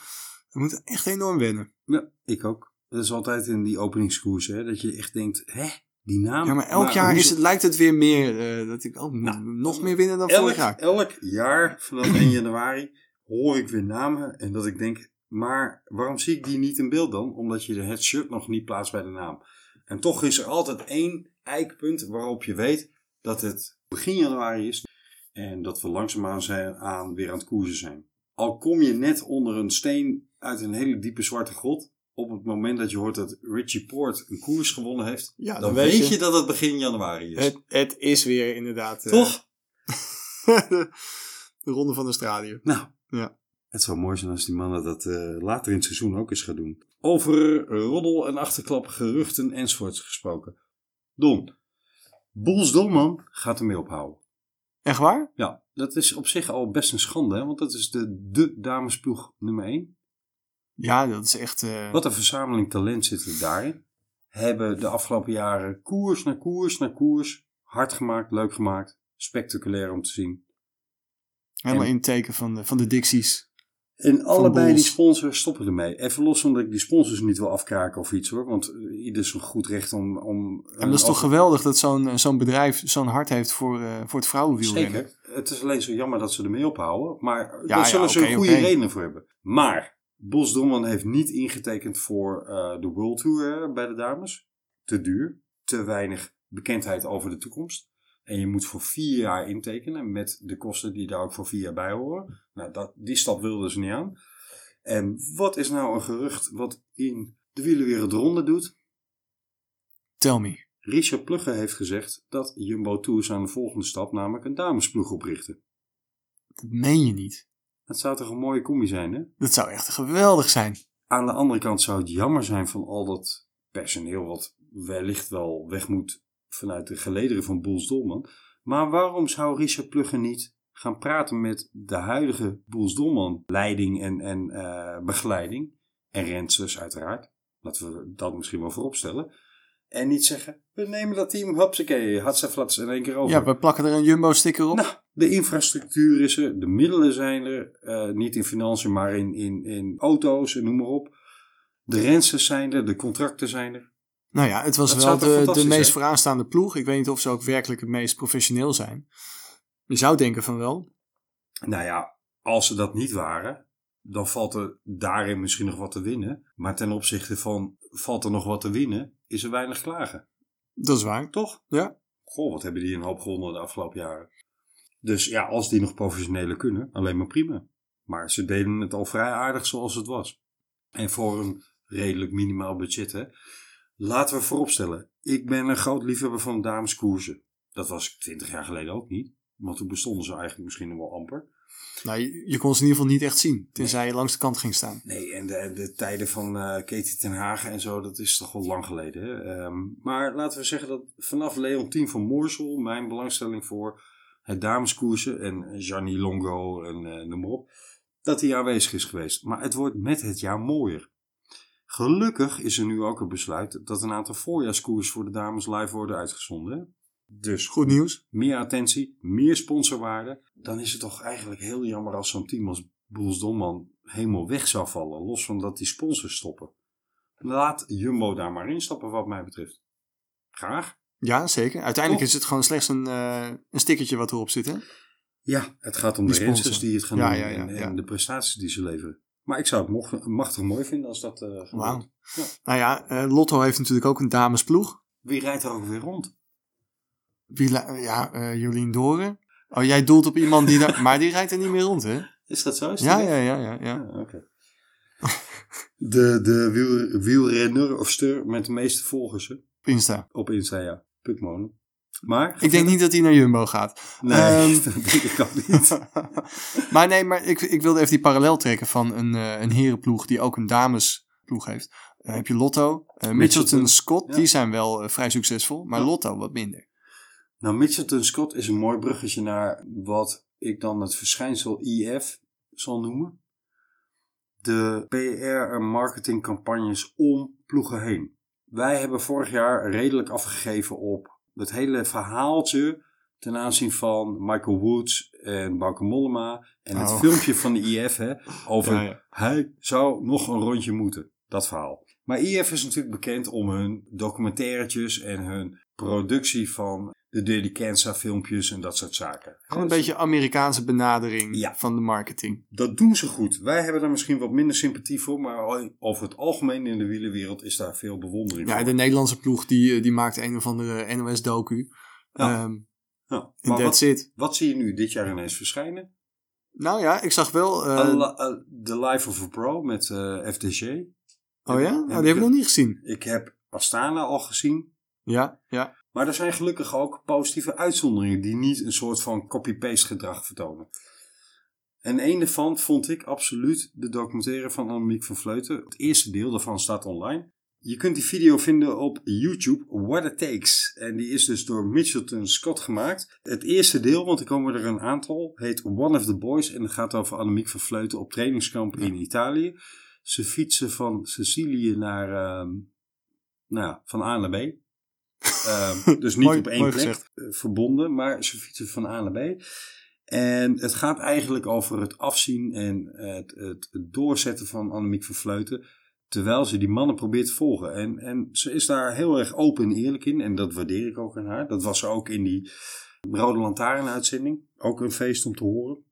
Speaker 2: We moeten echt enorm wennen.
Speaker 1: Ja, ik ook. Dat is altijd in die openingskoers, hè, dat je echt denkt, hè, die naam.
Speaker 2: Ja, maar elk jaar
Speaker 1: hoe Nou,
Speaker 2: is
Speaker 1: ze-
Speaker 2: het, lijkt het weer meer eh, dat ik oh, nog meer winnen dan vorig
Speaker 1: elk,
Speaker 2: jaar.
Speaker 1: elk jaar vanaf 1 januari hoor ik weer namen en dat ik denk, Maar waarom zie ik die niet in beeld dan? Omdat je het shirt nog niet plaatst bij de naam. En toch is er altijd één eikpunt waarop je weet dat het begin januari is. En dat we langzaamaan zijn, aan weer aan het koersen zijn. Al kom je net onder een steen uit een hele diepe zwarte grot. Op het moment dat je hoort dat Richie Poort een koers gewonnen heeft.
Speaker 2: Ja,
Speaker 1: dan, weet je. dat het begin januari is.
Speaker 2: Het, het is weer inderdaad... eh,
Speaker 1: Toch?
Speaker 2: de ronde van de stadion.
Speaker 1: Nou.
Speaker 2: Ja.
Speaker 1: Het zou mooi zijn als die mannen dat eh, later in het seizoen ook eens gaan doen. Over roddel en achterklap, geruchten enzovoorts gesproken. Don. Boels Dolman gaat ermee ophouden.
Speaker 2: Echt waar?
Speaker 1: Ja, dat is op zich al best een schande, hè? want dat is de, de damesploeg nummer 1.
Speaker 2: Ja, dat is echt... eh,
Speaker 1: Wat een verzameling talent zit er daarin. Hebben de afgelopen jaren koers na koers na koers hard gemaakt, leuk gemaakt, spectaculair om te zien.
Speaker 2: helemaal
Speaker 1: en-
Speaker 2: in het teken van de, van de Dixies.
Speaker 1: En allebei
Speaker 2: Boels.
Speaker 1: die sponsors stoppen ermee. Even los omdat ik die sponsors niet wil afkraken of iets hoor. Want eh, ieder is een goed recht om... om eh,
Speaker 2: En dat is toch geweldig dat zo'n eh, zo'n bedrijf zo'n hart heeft voor, eh, voor het vrouwenwielrennen.
Speaker 1: Zeker. Het is alleen zo jammer dat ze ermee ophouden. Maar
Speaker 2: Ja,
Speaker 1: daar
Speaker 2: ja,
Speaker 1: zullen ze
Speaker 2: oké,
Speaker 1: een goede
Speaker 2: oké.
Speaker 1: reden voor hebben. Maar Bos Domman heeft niet ingetekend voor eh, de World Tour hè, bij de dames. Te duur. Te weinig bekendheid over de toekomst. En je moet voor vier jaar intekenen met de kosten die daar ook voor vier jaar bij horen. Nou, dat, die stap wilden ze niet aan. En wat is nou een gerucht wat in de wielerwereld ronde doet?
Speaker 2: Tell me.
Speaker 1: Richard Plugge heeft gezegd dat Jumbo Tours aan de volgende stap, namelijk een damesploeg oprichten.
Speaker 2: Dat meen je niet.
Speaker 1: Dat zou toch een mooie combi zijn, hè?
Speaker 2: Dat zou echt geweldig zijn.
Speaker 1: Aan de andere kant zou het jammer zijn van al dat personeel wat wellicht wel weg moet vanuit de gelederen van Boels Dolman. Maar waarom zou Richard Plugge niet gaan praten met de huidige Boels Dolman leiding en, en eh, begeleiding? En Rensselaers uiteraard. Laten we dat misschien wel vooropstellen. En niet zeggen, we nemen dat team, hupsakee, hatsaflats in één keer over.
Speaker 2: Ja, we plakken er een Jumbo-sticker op.
Speaker 1: Nou, de infrastructuur is er, de middelen zijn er. eh, niet in financiën, maar in, in, in auto's en noem maar op. De renses zijn er, de contracten zijn er.
Speaker 2: Nou ja, het was
Speaker 1: Dat
Speaker 2: wel
Speaker 1: zou toch
Speaker 2: de, de
Speaker 1: fantastisch
Speaker 2: meest
Speaker 1: zijn?
Speaker 2: vooraanstaande ploeg. Ik weet niet of ze ook werkelijk het meest professioneel zijn. Je zou denken van wel.
Speaker 1: Nou ja, als ze dat niet waren, dan valt er daarin misschien nog wat te winnen. Maar ten opzichte van valt er nog wat te winnen, is er weinig klagen.
Speaker 2: Dat is waar.
Speaker 1: Toch?
Speaker 2: Ja.
Speaker 1: Goh, wat hebben die een hoop gewonnen de afgelopen jaren. Dus ja, als die nog professioneler kunnen, alleen maar prima. Maar ze deden het al vrij aardig zoals het was. En voor een redelijk minimaal budget, hè. Laten we vooropstellen, ik ben een groot liefhebber van dameskoersen. Dat was ik twintig jaar geleden ook niet. Want toen bestonden ze eigenlijk misschien nog wel amper.
Speaker 2: Nou, je, je kon ze in ieder geval niet echt zien. Tenzij je langs de kant ging staan.
Speaker 1: Nee, en de, de tijden van eh Katie ten Hagen en zo, dat is toch al lang geleden. Hè? Ehm, maar laten we zeggen dat vanaf Leontien van Moorsel, mijn belangstelling voor het dameskoersen en Gianni Longo en eh noem maar op, dat die aanwezig is geweest. Maar het wordt met het jaar mooier. Gelukkig is er nu ook een besluit dat een aantal voorjaarskoers voor de dames live worden uitgezonden. hè. Dus
Speaker 2: Goed nieuws.
Speaker 1: meer attentie, meer sponsorwaarde, dan is het toch eigenlijk heel jammer als zo'n team als Boels Domman helemaal weg zou vallen, los van dat die sponsors stoppen. Laat Jumbo daar maar instappen wat mij betreft. Graag.
Speaker 2: Ja, zeker. Uiteindelijk
Speaker 1: Toch?
Speaker 2: is het gewoon slechts een, eh een stickertje wat erop zit, hè?
Speaker 1: Ja, het gaat om
Speaker 2: Die
Speaker 1: de
Speaker 2: sponsor.
Speaker 1: rensters die het gaan
Speaker 2: Ja,
Speaker 1: doen
Speaker 2: ja, ja,
Speaker 1: en, en
Speaker 2: ja.
Speaker 1: de prestaties die ze leveren. Maar ik zou het mocht- machtig mooi vinden als dat eh gebeurt.
Speaker 2: Wauw.
Speaker 1: Ja.
Speaker 2: Nou ja, eh, Lotto heeft natuurlijk ook een damesploeg.
Speaker 1: Wie rijdt er ook weer rond?
Speaker 2: Wie la- ja, eh, Jolien Doren. Oh, jij doelt op iemand die daar... Maar die rijdt er niet meer rond, hè?
Speaker 1: Is dat zo? Is die
Speaker 2: Ja,
Speaker 1: weg?
Speaker 2: ja, ja, ja. ja.
Speaker 1: Ah, oké. de de wiel, wielrenner of steur met de meeste volgers hè?
Speaker 2: Op Insta.
Speaker 1: op Insta, ja. Pukmonen. Maar...
Speaker 2: Ik denk niet dat hij naar Jumbo gaat.
Speaker 1: Nee,
Speaker 2: Ehm,
Speaker 1: dat denk ik ook niet.
Speaker 2: maar nee, maar ik, ik wilde even die parallel trekken van een, eh, een herenploeg die ook een damesploeg heeft. Dan heb je Lotto, eh Mitchelton
Speaker 1: Mitchelton,
Speaker 2: Scott,
Speaker 1: ja.
Speaker 2: die zijn wel eh, vrij succesvol, maar
Speaker 1: Ja.
Speaker 2: Lotto wat minder.
Speaker 1: Nou, Mitchelton Scott is een mooi bruggetje naar wat ik dan het verschijnsel IF zal noemen. De PR en marketingcampagnes om ploegen heen. Wij hebben vorig jaar redelijk afgegeven op het hele verhaaltje ten aanzien van Michael Woods en Bauke Mollema. En het
Speaker 2: Oh.
Speaker 1: filmpje van de IF hè, over
Speaker 2: Ja, ja.
Speaker 1: hij zou nog een rondje moeten. Dat verhaal. Maar IF is natuurlijk bekend om hun documentairetjes en hun productie van de Delicanza filmpjes en dat soort zaken. Dus
Speaker 2: Gewoon een
Speaker 1: Hè,
Speaker 2: beetje Amerikaanse benadering
Speaker 1: Ja.
Speaker 2: van de marketing.
Speaker 1: dat doen ze goed. Wij hebben daar misschien wat minder sympathie voor, maar over het algemeen in de wielerwereld is daar veel bewondering
Speaker 2: Ja,
Speaker 1: voor.
Speaker 2: de Nederlandse ploeg die, eh, die maakt een of andere NOS-docu.
Speaker 1: Ja.
Speaker 2: Ja.
Speaker 1: Nou, maar
Speaker 2: Ehm, that's
Speaker 1: wat,
Speaker 2: it.
Speaker 1: wat zie je nu dit jaar ineens verschijnen?
Speaker 2: Nou ja, ik zag wel... eh,
Speaker 1: Alla- eh, The Life of a Pro met eh, FDG.
Speaker 2: oh ja?
Speaker 1: heb
Speaker 2: Nou,
Speaker 1: ik
Speaker 2: die heb
Speaker 1: het-
Speaker 2: ik nog niet gezien.
Speaker 1: Ik heb Astana al gezien.
Speaker 2: Ja, ja.
Speaker 1: Maar er zijn gelukkig ook positieve uitzonderingen die niet een soort van copy-paste gedrag vertonen. En een daarvan vond ik absoluut de documentaire van Annemiek van Vleuten. Het eerste deel daarvan staat online. Je kunt die video vinden op YouTube, What It Takes. En die is dus door Mitchelton Scott gemaakt. Het eerste deel, want er komen er een aantal, heet One of the Boys. En het gaat over Annemiek van Vleuten op trainingskamp in Italië. Ze fietsen van Sicilië naar, ehm, nou ja, van A naar B. Ehm, dus niet
Speaker 2: Mooi-
Speaker 1: op één
Speaker 2: mooi
Speaker 1: plek
Speaker 2: gezegd.
Speaker 1: eh, verbonden, maar ze fietsen van A naar B. En het gaat eigenlijk over het afzien en het, het, het doorzetten van Annemiek van Vleuten. Terwijl ze die mannen probeert te volgen. En, en ze is daar heel erg open en eerlijk in. En dat waardeer ik ook aan haar. Dat was ze ook in die Rode Lantaarn-uitzending. Ook een feest om te horen.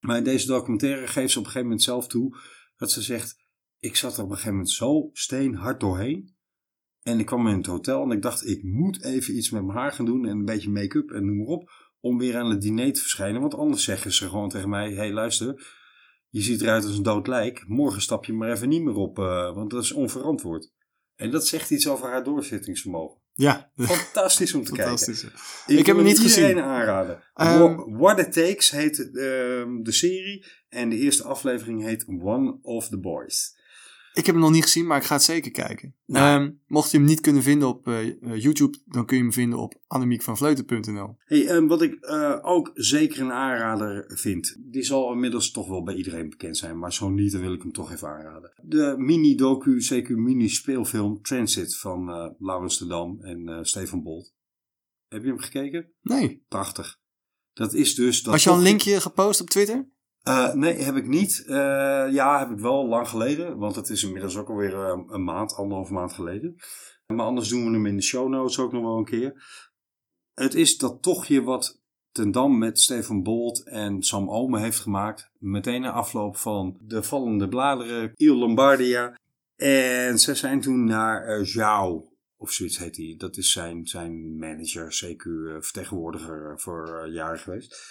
Speaker 1: Maar in deze documentaire geeft ze op een gegeven moment zelf toe dat ze zegt: Ik zat er op een gegeven moment zo steenhard doorheen. En ik kwam in het hotel en ik dacht: Ik moet even iets met mijn haar gaan doen. En een beetje make-up en noem maar op. Om weer aan het diner te verschijnen. Want anders zeggen ze gewoon tegen mij: Hé, hey, luister. Je ziet eruit als een dood lijk. Morgen stap je maar even niet meer op. eh, want dat is onverantwoord. En dat zegt iets over haar doorzettingsvermogen.
Speaker 2: Ja,
Speaker 1: Fantastisch om te kijken.
Speaker 2: fantastisch. Ik heb
Speaker 1: wil
Speaker 2: hem niet
Speaker 1: iedereen
Speaker 2: gezien.
Speaker 1: aanraden.
Speaker 2: Ehm,
Speaker 1: Wha- What It Takes heet ehm, de serie. En de eerste aflevering heet One of the Boys.
Speaker 2: Ik heb hem nog niet gezien, maar ik ga het zeker kijken.
Speaker 1: Nou.
Speaker 2: Ehm, mocht je hem niet kunnen vinden op eh, eh, YouTube, dan kun je hem vinden op annemiekvanvleuten.nl.
Speaker 1: Hey, ehm, wat ik eh, ook zeker een aanrader vind. Die zal inmiddels toch wel bij iedereen bekend zijn. Maar zo niet, dan wil ik hem toch even aanraden. De mini-docu, CQ mini-speelfilm Transit van eh Laurens de Dam en eh, Stefan Bolt. Heb je hem gekeken?
Speaker 2: Nee.
Speaker 1: Prachtig. Dat is dus... Dat
Speaker 2: Had je al een
Speaker 1: toch-
Speaker 2: linkje gepost op Twitter?
Speaker 1: Eh, nee, heb ik niet. Eh, ja, heb ik wel lang geleden. Want het is inmiddels ook alweer eh, een maand, anderhalf maand geleden. Maar anders doen we hem in de show notes ook nog wel een keer. Het is dat tochtje wat Ten Dam met Stefan Bolt en Sam Ome heeft gemaakt. Meteen na afloop van De Vallende Bladeren, Il Lombardia. En ze zijn toen naar eh Zhao, of zoiets heet hij. Dat is zijn, zijn manager, CQ-vertegenwoordiger voor eh, jaren geweest.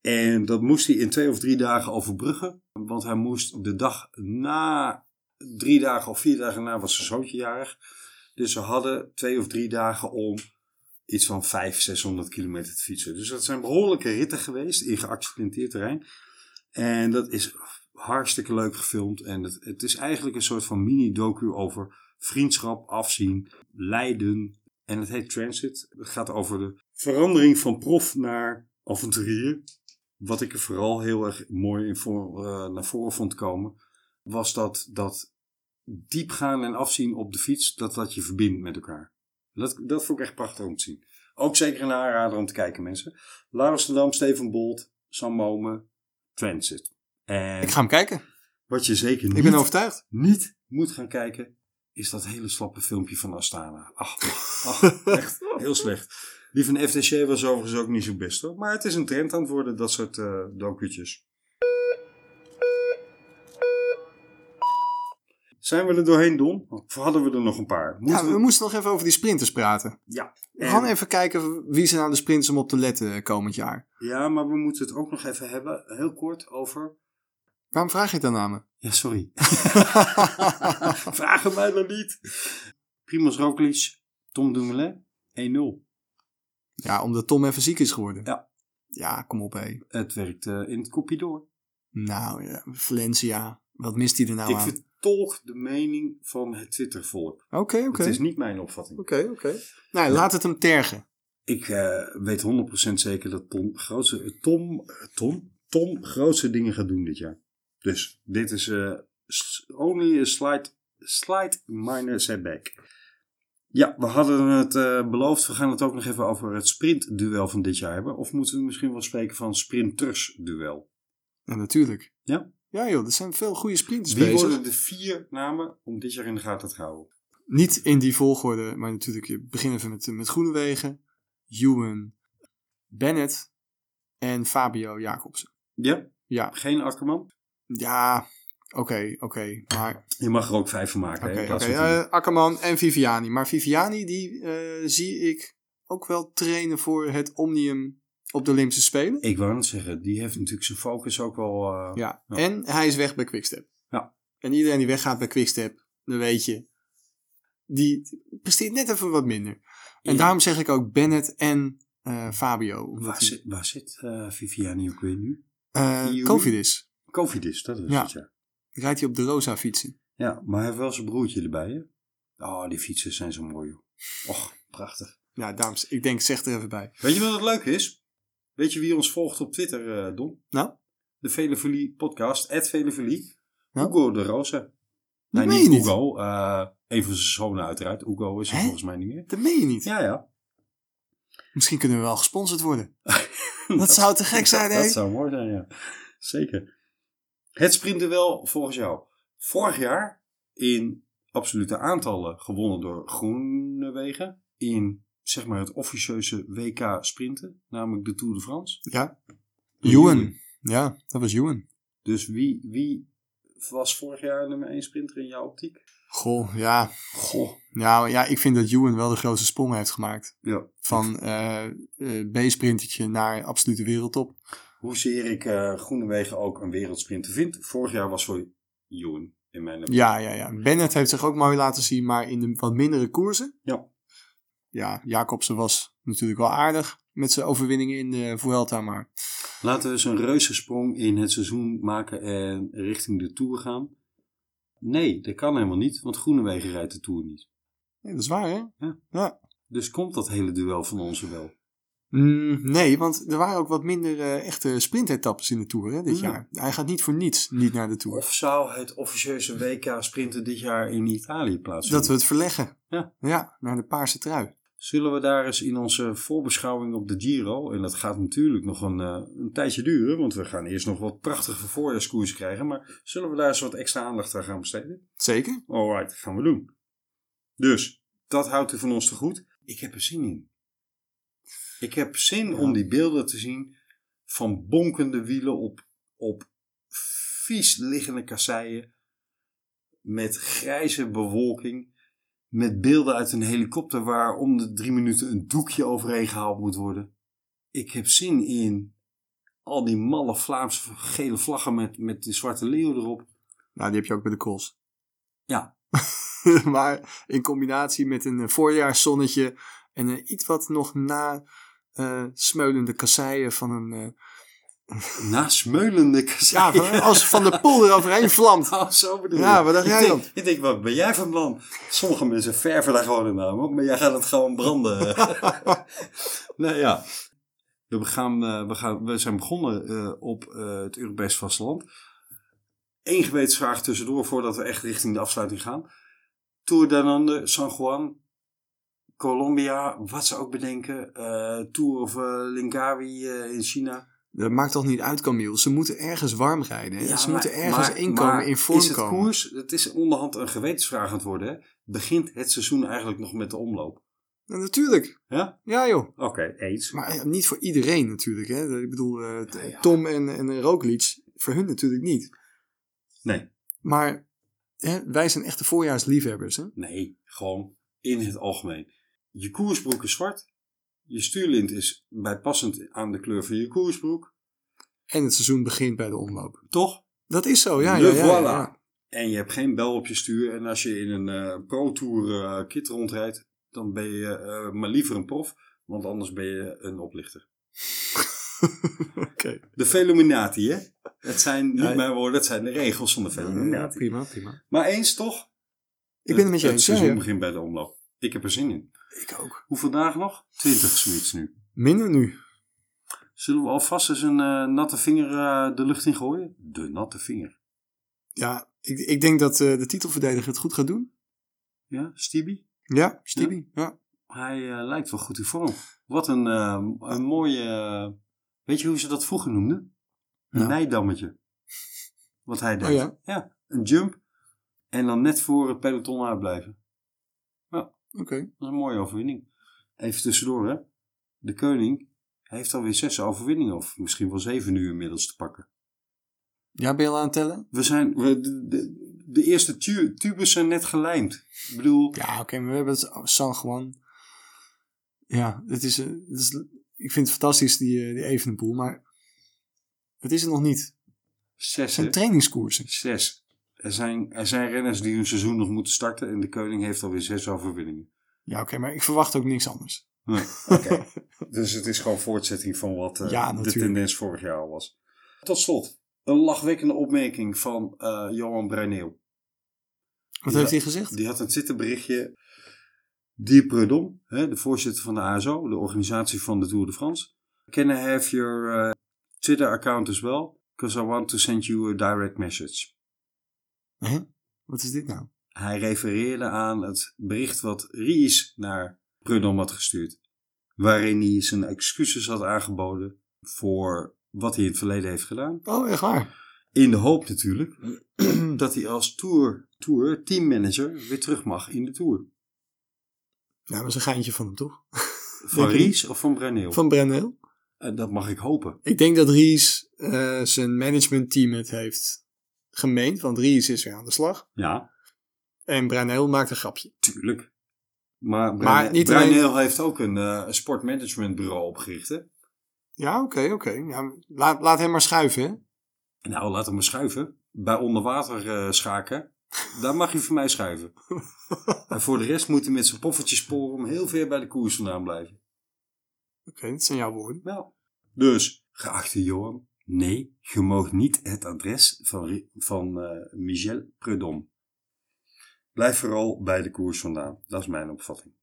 Speaker 1: En dat moest hij in twee of drie dagen overbruggen. Want hij moest de dag na, drie dagen of vier dagen na, was zijn zoontje jarig. Dus ze hadden twee of drie dagen om iets van 500, 600 kilometer te fietsen. Dus dat zijn behoorlijke ritten geweest in geaccidenteerd terrein. En dat is hartstikke leuk gefilmd. En het, het is eigenlijk een soort van mini-docu over vriendschap, afzien, lijden. En het heet Transit. Het gaat over de verandering van prof naar avonturier. Wat ik er vooral heel erg mooi in voor, eh, naar voren vond komen, was dat, dat diep gaan en afzien op de fiets, dat dat je verbindt met elkaar. Dat, dat vond ik echt prachtig om te zien. Ook zeker een aanrader om te kijken, mensen. Laurens de Dam, Steven Bolt, Sam Momen, Transit. En
Speaker 2: Ik ga hem kijken.
Speaker 1: wat je zeker niet
Speaker 2: Ik ben overtuigd.
Speaker 1: niet moet gaan kijken, is dat hele slappe filmpje van Astana. Ach, ach, echt heel slecht. Die van FTC was overigens ook niet zo best hoor. Maar het is een trend aan het worden, dat soort eh docutjes. Zijn we er doorheen, Don? Of hadden we er nog een paar?
Speaker 2: Ja,
Speaker 1: Moeten
Speaker 2: we moesten nog even over die sprinters praten.
Speaker 1: Ja.
Speaker 2: We
Speaker 1: En-
Speaker 2: gaan even kijken wie zijn nou de sprinters om op te letten komend jaar.
Speaker 1: ja, maar we moeten het ook nog even hebben, heel kort, over...
Speaker 2: Waarom vraag je het dan aan me?
Speaker 1: Ja, sorry. Vragen mij dan niet. Primoz Roglic, Tom Dumoulin, 1-0.
Speaker 2: Ja, omdat Tom even ziek is geworden.
Speaker 1: Ja.
Speaker 2: Ja, kom op hé.
Speaker 1: Het werkt eh, in het kopje door.
Speaker 2: Nou ja, Valencia. Wat mist hij er nou
Speaker 1: ik
Speaker 2: aan?
Speaker 1: vertolk de mening van het Twittervolk.
Speaker 2: Oké,
Speaker 1: Het
Speaker 2: oké.
Speaker 1: is niet mijn opvatting.
Speaker 2: Oké, oké. Nou, laat het hem tergen.
Speaker 1: Ik eh, weet 100% zeker dat Tom grootste, Tom, eh, Tom, Tom grootste dingen gaat doen dit jaar. Dus dit is eh, s- only a slight, slight minor setback. Ja, we hadden het eh, beloofd. We gaan het ook nog even over het sprintduel van dit jaar hebben. Of moeten we misschien wel spreken van sprintersduel?
Speaker 2: Ja, natuurlijk.
Speaker 1: Ja.
Speaker 2: Ja joh, er zijn veel goede sprinters
Speaker 1: Wie
Speaker 2: bezig.
Speaker 1: worden de vier namen om dit jaar in de gaten te houden?
Speaker 2: Niet in die volgorde, maar natuurlijk, je begint even met, met Groenewegen. Ewan Bennett en Fabio Jacobsen.
Speaker 1: Ja,
Speaker 2: Ja,
Speaker 1: geen Akkerman.
Speaker 2: ja oké, oké. Maar
Speaker 1: Je mag er ook vijf van maken.
Speaker 2: oké,
Speaker 1: hè, in
Speaker 2: oké.
Speaker 1: plaats van vier.
Speaker 2: eh, Akkerman en Viviani. Maar Viviani die eh, zie ik ook wel trainen voor het Omnium op de Olympische Spelen.
Speaker 1: Ik wou net zeggen, die heeft natuurlijk zijn focus ook wel... eh,
Speaker 2: Ja.
Speaker 1: Ja.
Speaker 2: En hij is weg bij Quickstep.
Speaker 1: Ja.
Speaker 2: En iedereen die weggaat bij Quickstep, dan weet je, die presteert net even wat minder. En
Speaker 1: Ja.
Speaker 2: daarom zeg ik ook Bennett en eh, Fabio. Omdat
Speaker 1: Waar,
Speaker 2: die-
Speaker 1: zit, waar zit eh, Viviani ook weer nu?
Speaker 2: eh,
Speaker 1: Iu?
Speaker 2: Covid is.
Speaker 1: Covid is, dat is
Speaker 2: Ja.
Speaker 1: het, ja.
Speaker 2: Rijdt hij op de Rosa fietsen.
Speaker 1: Ja, maar hij heeft wel zijn broertje erbij, hè? Oh, die fietsen zijn zo mooi, joh. Och, prachtig.
Speaker 2: Ja, dames, ik denk, zeg er even bij.
Speaker 1: Weet je wat het leuke is? Weet je wie ons volgt op Twitter, eh Don?
Speaker 2: Nou?
Speaker 1: De Velevolie podcast, at Velevolie.
Speaker 2: Ja?
Speaker 1: Hugo de Rosa.
Speaker 2: Dat
Speaker 1: Nee,
Speaker 2: meen je
Speaker 1: niet
Speaker 2: niet.
Speaker 1: Hugo. eh, een van zijn zonen uiteraard. Hugo is er
Speaker 2: Hè?
Speaker 1: volgens mij niet meer.
Speaker 2: Dat meen je niet.
Speaker 1: Ja, ja.
Speaker 2: Misschien kunnen we wel gesponsord worden. Dat zou te gek zijn, hè?
Speaker 1: Dat zou mooi zijn, ja. Zeker. Het sprintduel volgens jou. Vorig jaar in absolute aantallen gewonnen door Groenewegen. In zeg maar het officieuze WK sprinten. Namelijk de Tour de France.
Speaker 2: Ja.
Speaker 1: Door
Speaker 2: Ewan. Ja, dat was Ewan.
Speaker 1: Dus wie, wie was vorig jaar nummer 1 sprinter in jouw optiek?
Speaker 2: Goh, ja. Goh. Nou ja, ik vind dat Ewan wel de grootste sprong heeft gemaakt.
Speaker 1: Ja.
Speaker 2: Van eh, eh, B-sprintertje naar absolute wereldtop.
Speaker 1: Hoezeer ik eh, Groenewegen ook een wereldsprinter vind. Vorig jaar was voor Joen in mijn optiek.
Speaker 2: Ja, ja, ja. Bennett heeft zich ook mooi laten zien, maar in de wat mindere koersen.
Speaker 1: Ja.
Speaker 2: Ja, Jacobsen was natuurlijk wel aardig met zijn overwinningen in de Vuelta, maar
Speaker 1: Laten we eens een reuzensprong in het seizoen maken en richting de Tour gaan. Nee, dat kan helemaal niet, want Groenewegen rijdt de Tour niet.
Speaker 2: nee, dat is waar, hè?
Speaker 1: Dus komt dat hele duel van onze wel.
Speaker 2: Mm, nee, want er waren ook wat minder eh, echte sprintetappes in de Tour hè, dit
Speaker 1: Ja.
Speaker 2: jaar. Hij gaat niet voor niets niet naar de Tour.
Speaker 1: Of zou het officieuze WK sprinten dit jaar in Italië plaatsvinden?
Speaker 2: Dat we het verleggen.
Speaker 1: Ja.
Speaker 2: ja, naar de paarse trui.
Speaker 1: Zullen we daar eens in onze voorbeschouwing op de Giro, en dat gaat natuurlijk nog een, eh, een tijdje duren, want we gaan eerst nog wat prachtige voorjaarskoers krijgen, maar zullen we daar eens wat extra aandacht aan gaan besteden?
Speaker 2: Zeker.
Speaker 1: Alright, dat gaan we doen. Dus, dat houdt u van ons te goed. Ik heb er zin in. Ik heb zin om die beelden te zien van bonkende wielen op, op vies liggende kasseien, met grijze bewolking, met beelden uit een helikopter waar om de drie minuten een doekje overheen gehaald moet worden. Ik heb zin in al die malle Vlaamse gele vlaggen met, met de zwarte leeuw erop.
Speaker 2: Nou, die heb je ook bij de Kools.
Speaker 1: Ja.
Speaker 2: maar in combinatie met een eh, voorjaarszonnetje en eh, iets wat nog na eh, smeulende kasseien van een... eh,
Speaker 1: Na smeulende
Speaker 2: ja,
Speaker 1: kasseien.
Speaker 2: van, als van de poel eroverheen vlamt.
Speaker 1: Oh, zo bedoel je.
Speaker 2: Ja, wat dacht
Speaker 1: Ik
Speaker 2: jij
Speaker 1: denk-
Speaker 2: dan?
Speaker 1: Ik denk, wat ben jij van plan? Sommige mensen verven daar gewoon een naam op, maar jij gaat het gewoon branden. nou ja. We, gaan, eh, we, gaan, we zijn begonnen eh, op eh, het Europees vasteland. Eén gewetensvraag tussendoor voordat we echt richting de afsluiting gaan. Tour de Nande, San Juan, Colombia, wat ze ook bedenken. eh, Tour of eh, Lingawi eh, in China.
Speaker 2: Dat maakt toch niet uit, Camille. Ze moeten ergens warm rijden. hè? dus
Speaker 1: Ja,
Speaker 2: Ze
Speaker 1: maar-
Speaker 2: moeten ergens
Speaker 1: maar-
Speaker 2: inkomen,
Speaker 1: maar
Speaker 2: in vorm
Speaker 1: is het
Speaker 2: komen.
Speaker 1: Koers, het is onderhand een gewetensvraag aan het worden. Hè? Begint het seizoen eigenlijk nog met de omloop?
Speaker 2: Ja, natuurlijk.
Speaker 1: Ja?
Speaker 2: Ja, joh.
Speaker 1: Oké, eens.
Speaker 2: Maar eh, niet voor iedereen natuurlijk. Hè? Ik bedoel, eh, t- Tom en, en Roglic, voor hun natuurlijk niet.
Speaker 1: Nee.
Speaker 2: Maar hè, wij zijn echte voorjaarsliefhebbers. Hè?
Speaker 1: Nee, gewoon in het algemeen. Je koersbroek is zwart. Je stuurlint is bijpassend aan de kleur van je koersbroek.
Speaker 2: En het seizoen begint bij de omloop.
Speaker 1: Toch?
Speaker 2: Dat is zo, ja.
Speaker 1: Le
Speaker 2: ja, ja,
Speaker 1: voilà.
Speaker 2: ja.
Speaker 1: En je hebt geen bel op je stuur. En als je in een eh, pro-tour eh kit rondrijdt, dan ben je eh, maar liever een prof. Want anders ben je een oplichter.
Speaker 2: Oké.
Speaker 1: De Veluminati, hè? Het zijn niet
Speaker 2: Ja.
Speaker 1: mijn woorden, het zijn de regels van de
Speaker 2: Ja,
Speaker 1: Veluminati.
Speaker 2: prima, prima.
Speaker 1: Maar eens toch?
Speaker 2: Ik ben het met je
Speaker 1: Het
Speaker 2: eens. ja,
Speaker 1: seizoen
Speaker 2: ja.
Speaker 1: begint bij de omloop. Ik heb er zin in.
Speaker 2: Ik ook.
Speaker 1: Hoeveel dagen nog? Twintig zoiets nu.
Speaker 2: Minder nu.
Speaker 1: Zullen we alvast eens een eh, natte vinger eh, de lucht in gooien? De natte vinger.
Speaker 2: Ja, ik, ik denk dat eh, de titelverdediger het goed gaat doen.
Speaker 1: Ja, Stibie?
Speaker 2: Ja, Stibi. Ja.
Speaker 1: Hij eh, lijkt wel goed in vorm. Wat een, eh, een mooie... eh, weet je hoe ze dat vroeger noemden? Een
Speaker 2: Nou.
Speaker 1: nijdammetje. Wat hij deed.
Speaker 2: Oh ja?
Speaker 1: een jump. En dan net voor het peloton uitblijven.
Speaker 2: Oké.
Speaker 1: Dat is een mooie overwinning. Even tussendoor, hè? de koning heeft alweer zes overwinningen, of misschien wel zeven nu inmiddels te pakken.
Speaker 2: Ja, ben je al aan het tellen?
Speaker 1: We zijn, we, de, de, de eerste tu- tubers zijn net gelijmd. Ik bedoel,
Speaker 2: Ja, oké, maar we hebben het oh, San Juan. Ja, het is, eh, het is, ik vind het fantastisch, die, eh, die Evenepoel, maar het is het nog niet. Het
Speaker 1: zes, hè?
Speaker 2: zijn trainingskoersen.
Speaker 1: Zes. Er zijn, er zijn renners die hun seizoen nog moeten starten en de koning heeft alweer zes overwinningen.
Speaker 2: Ja, oké, maar ik verwacht ook niks anders.
Speaker 1: Nee, dus het is gewoon voortzetting van wat eh,
Speaker 2: Ja,
Speaker 1: de
Speaker 2: natuurlijk.
Speaker 1: tendens vorig jaar al was. Tot slot, een lachwekkende opmerking van eh, Johan Bruineel.
Speaker 2: Wat
Speaker 1: Ja.
Speaker 2: heeft hij gezegd?
Speaker 1: Die had een Twitterberichtje. Dear Prudhomme, hè, de voorzitter van de ASO, de organisatie van de Tour de France. Can I have your eh, Twitter account as well? Because I want to send you a direct message.
Speaker 2: Hè? Wat is dit nou?
Speaker 1: Hij refereerde aan het bericht wat Ries naar Prudhomme had gestuurd. Waarin hij zijn excuses had aangeboden voor wat hij in het verleden heeft gedaan.
Speaker 2: Oh, echt waar?
Speaker 1: In de hoop natuurlijk dat hij als tour, tour teammanager weer terug mag in de Tour.
Speaker 2: Nou, dat is een geintje van hem, toch?
Speaker 1: Van
Speaker 2: Denk je
Speaker 1: Ries of van Bruneel?
Speaker 2: Van Brendel?
Speaker 1: En dat mag ik hopen.
Speaker 2: Ik denk dat Ries eh, zijn managementteam het heeft gemeend, want Ries is weer aan de slag.
Speaker 1: Ja,
Speaker 2: En Brunel maakt een grapje.
Speaker 1: tuurlijk. Maar,
Speaker 2: Maar niet alleen-
Speaker 1: Bruneel heeft ook een eh, een sportmanagementbureau opgericht. Hè?
Speaker 2: Ja, oké, oké. Ja, laat, laat hem maar schuiven, hè?
Speaker 1: Nou, laat hem maar schuiven. Bij onderwater eh, schaken, daar mag hij voor mij schuiven. en voor de rest moet hij met zijn poffertje sporen om heel ver bij de koers vandaan blijven.
Speaker 2: Oké, dat zijn jouw woorden.
Speaker 1: Wel. Dus, geachte Johan, nee, je mag niet het adres van, Ri- van eh, Michel Prudhomme. Blijf vooral bij de koers vandaan. Dat is mijn opvatting.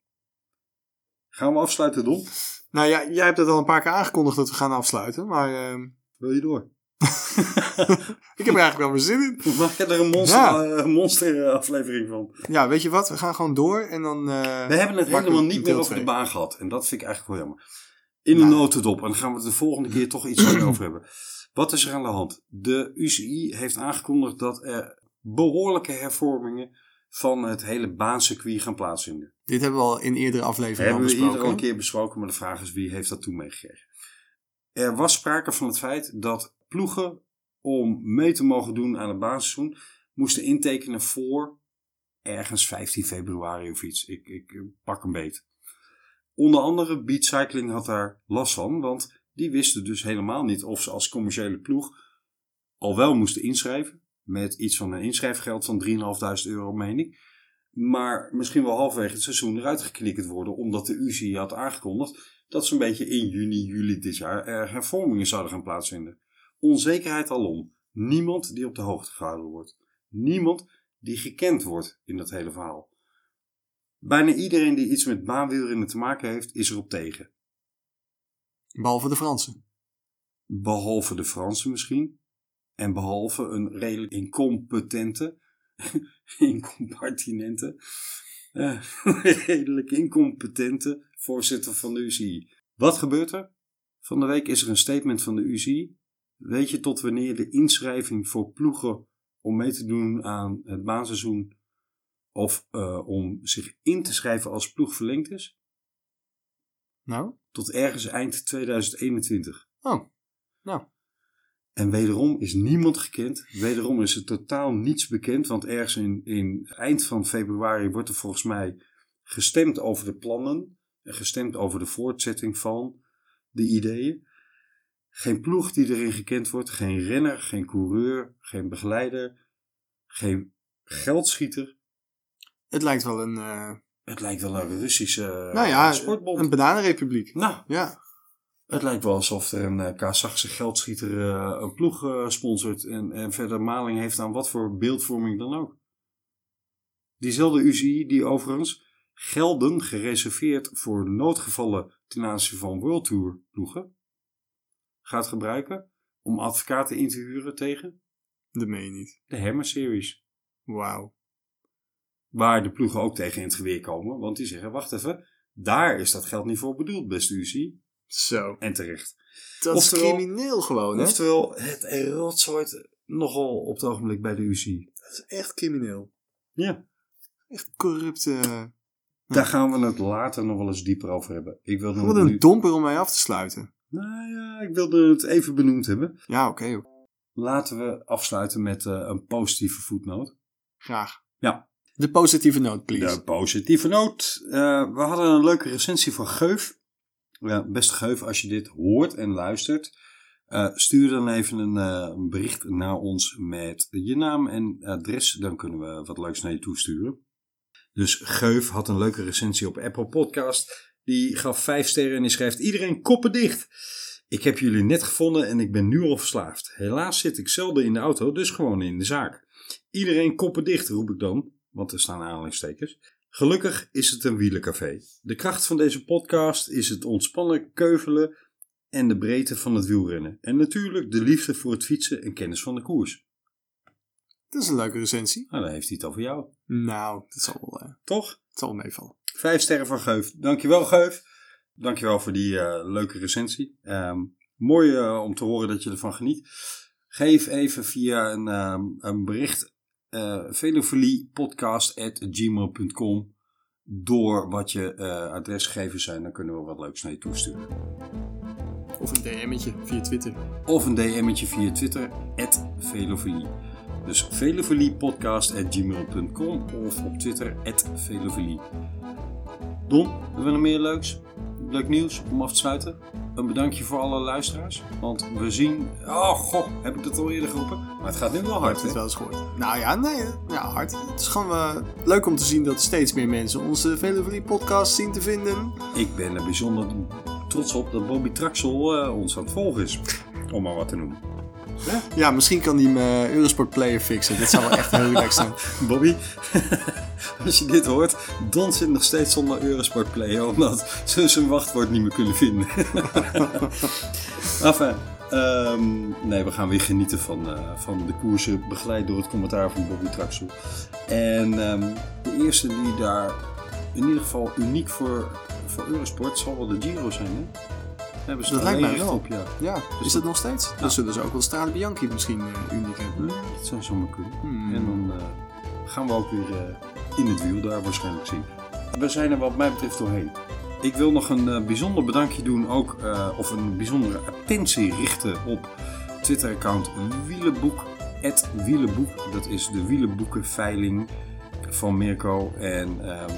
Speaker 1: Gaan we afsluiten, Don?
Speaker 2: Nou ja, jij hebt het al een paar keer aangekondigd dat we gaan afsluiten, maar ehm,
Speaker 1: Wil je door?
Speaker 2: ik heb er eigenlijk wel mijn zin in.
Speaker 1: Mag ik er een monster,
Speaker 2: Ja.
Speaker 1: eh, monster aflevering van?
Speaker 2: Ja, weet je wat? We gaan gewoon door en dan... eh,
Speaker 1: We hebben het
Speaker 2: maken we
Speaker 1: helemaal
Speaker 2: een
Speaker 1: niet
Speaker 2: deel
Speaker 1: meer over de
Speaker 2: twee. Nou.
Speaker 1: baan gehad. En dat vind ik eigenlijk wel jammer. In de notendop. En dan gaan we het de volgende keer toch iets meer over hebben. Wat is er aan de hand? De UCI heeft aangekondigd dat er behoorlijke hervormingen van het hele baancircuit gaan plaatsvinden.
Speaker 2: Dit hebben we al in eerdere
Speaker 1: We
Speaker 2: afleveringen al
Speaker 1: hebben we
Speaker 2: besproken.
Speaker 1: eerder al een keer besproken, maar de vraag is wie heeft dat toen meegekregen? Er was sprake van het feit dat ploegen om mee te mogen doen aan het baanseizoen moesten intekenen voor ergens 15 februari of iets. Ik, ik eh, pak een beet. Onder andere Beat Cycling had daar last van, want die wisten dus helemaal niet of ze als commerciële ploeg al wel moesten inschrijven. Met iets van een inschrijfgeld van 3.500 euro, meen ik. Maar misschien wel halverwege het seizoen eruit geknikkerd worden, omdat de UCI had aangekondigd dat ze een beetje in juni, juli dit jaar er hervormingen zouden gaan plaatsvinden. Onzekerheid alom. Niemand die op de hoogte gehouden wordt. Niemand die gekend wordt in dat hele verhaal. Bijna iedereen die iets met baanwielrennen te maken heeft, is erop tegen.
Speaker 2: Behalve de Fransen.
Speaker 1: Behalve de Fransen misschien. En behalve een redelijk incompetente, incompartinente, eh, redelijk incompetente voorzitter van de UCI. Wat gebeurt er? Van de week is er een statement van de UCI. Weet je tot wanneer de inschrijving voor ploegen om mee te doen aan het baanseizoen of eh, om zich in te schrijven als ploeg verlengd is?
Speaker 2: Nou,
Speaker 1: Tot ergens eind 2021.
Speaker 2: oh, nou.
Speaker 1: En wederom is niemand gekend. Wederom is er totaal niets bekend. Want ergens in, in eind van februari wordt er volgens mij gestemd over de plannen. En gestemd over de voortzetting van de ideeën. Geen ploeg die erin gekend wordt. Geen renner, geen coureur, geen begeleider, geen geldschieter.
Speaker 2: Het lijkt wel een, eh,
Speaker 1: Het lijkt wel een Russische eh,
Speaker 2: nou ja,
Speaker 1: sportbond.
Speaker 2: een bananenrepubliek.
Speaker 1: Nou,
Speaker 2: Ja,
Speaker 1: Het lijkt wel alsof er een eh Kazachse geldschieter eh, een ploeg eh, sponsort en, en verder maling heeft aan wat voor beeldvorming dan ook. Diezelfde UCI die overigens gelden gereserveerd voor noodgevallen ten aanzien van World Tour ploegen gaat gebruiken om advocaten in te huren tegen
Speaker 2: dat meen je niet.
Speaker 1: de Hammer Series.
Speaker 2: Wauw.
Speaker 1: Waar de ploegen ook tegen in het geweer komen, want die zeggen wacht even, daar is dat geld niet voor bedoeld beste UCI.
Speaker 2: Zo.
Speaker 1: En terecht.
Speaker 2: Dat is
Speaker 1: Oftewel-
Speaker 2: crimineel gewoon, hè? Dat
Speaker 1: Oftewel, het rotzoort nogal op het ogenblik bij de UCI.
Speaker 2: is echt crimineel.
Speaker 1: Ja.
Speaker 2: Echt corrupte eh,
Speaker 1: Daar gaan we het later nog wel eens dieper over hebben. Ik wilde
Speaker 2: Wat
Speaker 1: het
Speaker 2: een
Speaker 1: nu-
Speaker 2: domper om mij af te sluiten.
Speaker 1: Nou ja, ik wilde het even benoemd hebben.
Speaker 2: Ja, oké, joh.
Speaker 1: Laten we afsluiten met eh, een positieve voetnoot.
Speaker 2: graag.
Speaker 1: Ja.
Speaker 2: De positieve noot,
Speaker 1: De
Speaker 2: please.
Speaker 1: positieve noot. Eh, we hadden een leuke recensie van Geuf. Ja, beste Geuf, als je dit hoort en luistert, eh, stuur dan even een eh, een bericht naar ons met je naam en adres. Dan kunnen we wat leuks naar je toesturen. Dus Geuf had een leuke recensie op Apple Podcast. Die gaf vijf sterren en die schrijft iedereen koppen dicht. Ik heb jullie net gevonden en ik ben nu al verslaafd. Helaas zit ik zelden in de auto, dus gewoon in de zaak. Iedereen koppen dicht, roep ik dan, want er staan aanhalingstekens. Gelukkig is het een wielencafé. De kracht van deze podcast is het ontspannen keuvelen en de breedte van het wielrennen. En natuurlijk de liefde voor het fietsen en kennis van de koers.
Speaker 2: Dat is een leuke recensie.
Speaker 1: Nou, dan heeft hij het over jou,
Speaker 2: Nou, dat zal wel, eh,
Speaker 1: toch?
Speaker 2: het zal wel meevallen.
Speaker 1: Vijf sterren van Geuf. Dankjewel, Geuf. Dankjewel voor die eh, leuke recensie. Ehm, mooi eh, om te horen dat je ervan geniet. Geef even via een, ehm, een bericht eh velofiliepodcast.gmail.com door wat je eh, adresgegevens zijn. Dan kunnen we wat leuks naar je toesturen.
Speaker 2: Of een DM'tje via Twitter.
Speaker 1: Of een DM'tje via Twitter, velofilie. Dus velofiliepodcast.gmail.com of op Twitter, velofilie. Don, hebben we nog meer leuks? Leuk nieuws om af te sluiten. Een bedankje voor alle luisteraars. Want we zien... Oh, goh, heb ik dat al eerder geroepen? Maar het gaat nu wel
Speaker 2: Ik
Speaker 1: hard,
Speaker 2: heb
Speaker 1: hè?
Speaker 2: het wel eens gehoord. Nou ja, nee. hè. Ja, hard. Het is gewoon eh, leuk om te zien dat steeds meer mensen onze Velovelie podcast zien te vinden.
Speaker 1: Ik ben er bijzonder trots op dat Bobby Traxel eh, ons aan het volgen is. Om maar wat te noemen.
Speaker 2: Ja, misschien kan die mijn Eurosport player fixen. Dit zou wel echt heel relaxed zijn.
Speaker 1: Bobby, als je dit hoort, Don zit nog steeds zonder Eurosport Player, omdat ze zijn wachtwoord niet meer kunnen vinden. enfin, ehm, nee, we gaan weer genieten van, eh, van de koersen, begeleid door het commentaar van Bobby Traxel. En ehm, de eerste die daar in ieder geval uniek voor, voor Eurosport zal wel de Giro zijn, hè? Daar Hebben ze
Speaker 2: Dat
Speaker 1: het
Speaker 2: lijkt mij
Speaker 1: alleen
Speaker 2: wel.
Speaker 1: op, ja.
Speaker 2: Ja, is Dus dat nog steeds? Dan zullen ze ook wel Strade Bianchi misschien eh, uniek hebben.
Speaker 1: Dat zou zomaar kunnen.
Speaker 2: Hmm.
Speaker 1: En dan eh, gaan we ook weer eh, in het wiel daar waarschijnlijk zien. We zijn er wat mij betreft doorheen. Ik wil nog een eh, bijzonder bedankje doen, ook, eh, of een bijzondere attentie richten op Twitter-account Wielenboek. Het Wielenboek, dat is de wielenboekenveiling van Mirko. En ehm,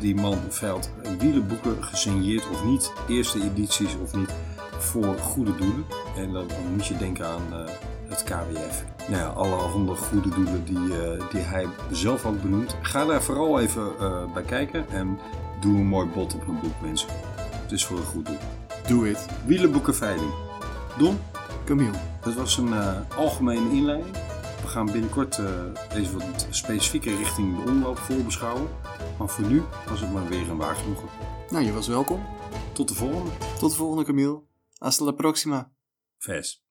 Speaker 1: die man veilt wielenboeken, gesigneerd of niet, eerste edities of niet, voor goede doelen. En dan moet je denken aan eh, het KWF. Nou ja, alle andere goede doelen die, eh, die hij zelf ook benoemt. Ga daar vooral even eh, bij kijken en doe een mooi bod op een boek, mensen. Het is voor een goed doel.
Speaker 2: Do it.
Speaker 1: Wielenboekenveiling. Don,
Speaker 2: Camille.
Speaker 1: dat was een eh, algemene inleiding. We gaan binnenkort eh, deze wat specifieker richting de omloop voorbeschouwen. Maar voor nu was het maar weer een waargenoegen.
Speaker 2: Nou, je was welkom.
Speaker 1: Tot de volgende.
Speaker 2: Tot de volgende, Camille. Hasta la próxima.
Speaker 1: Vers.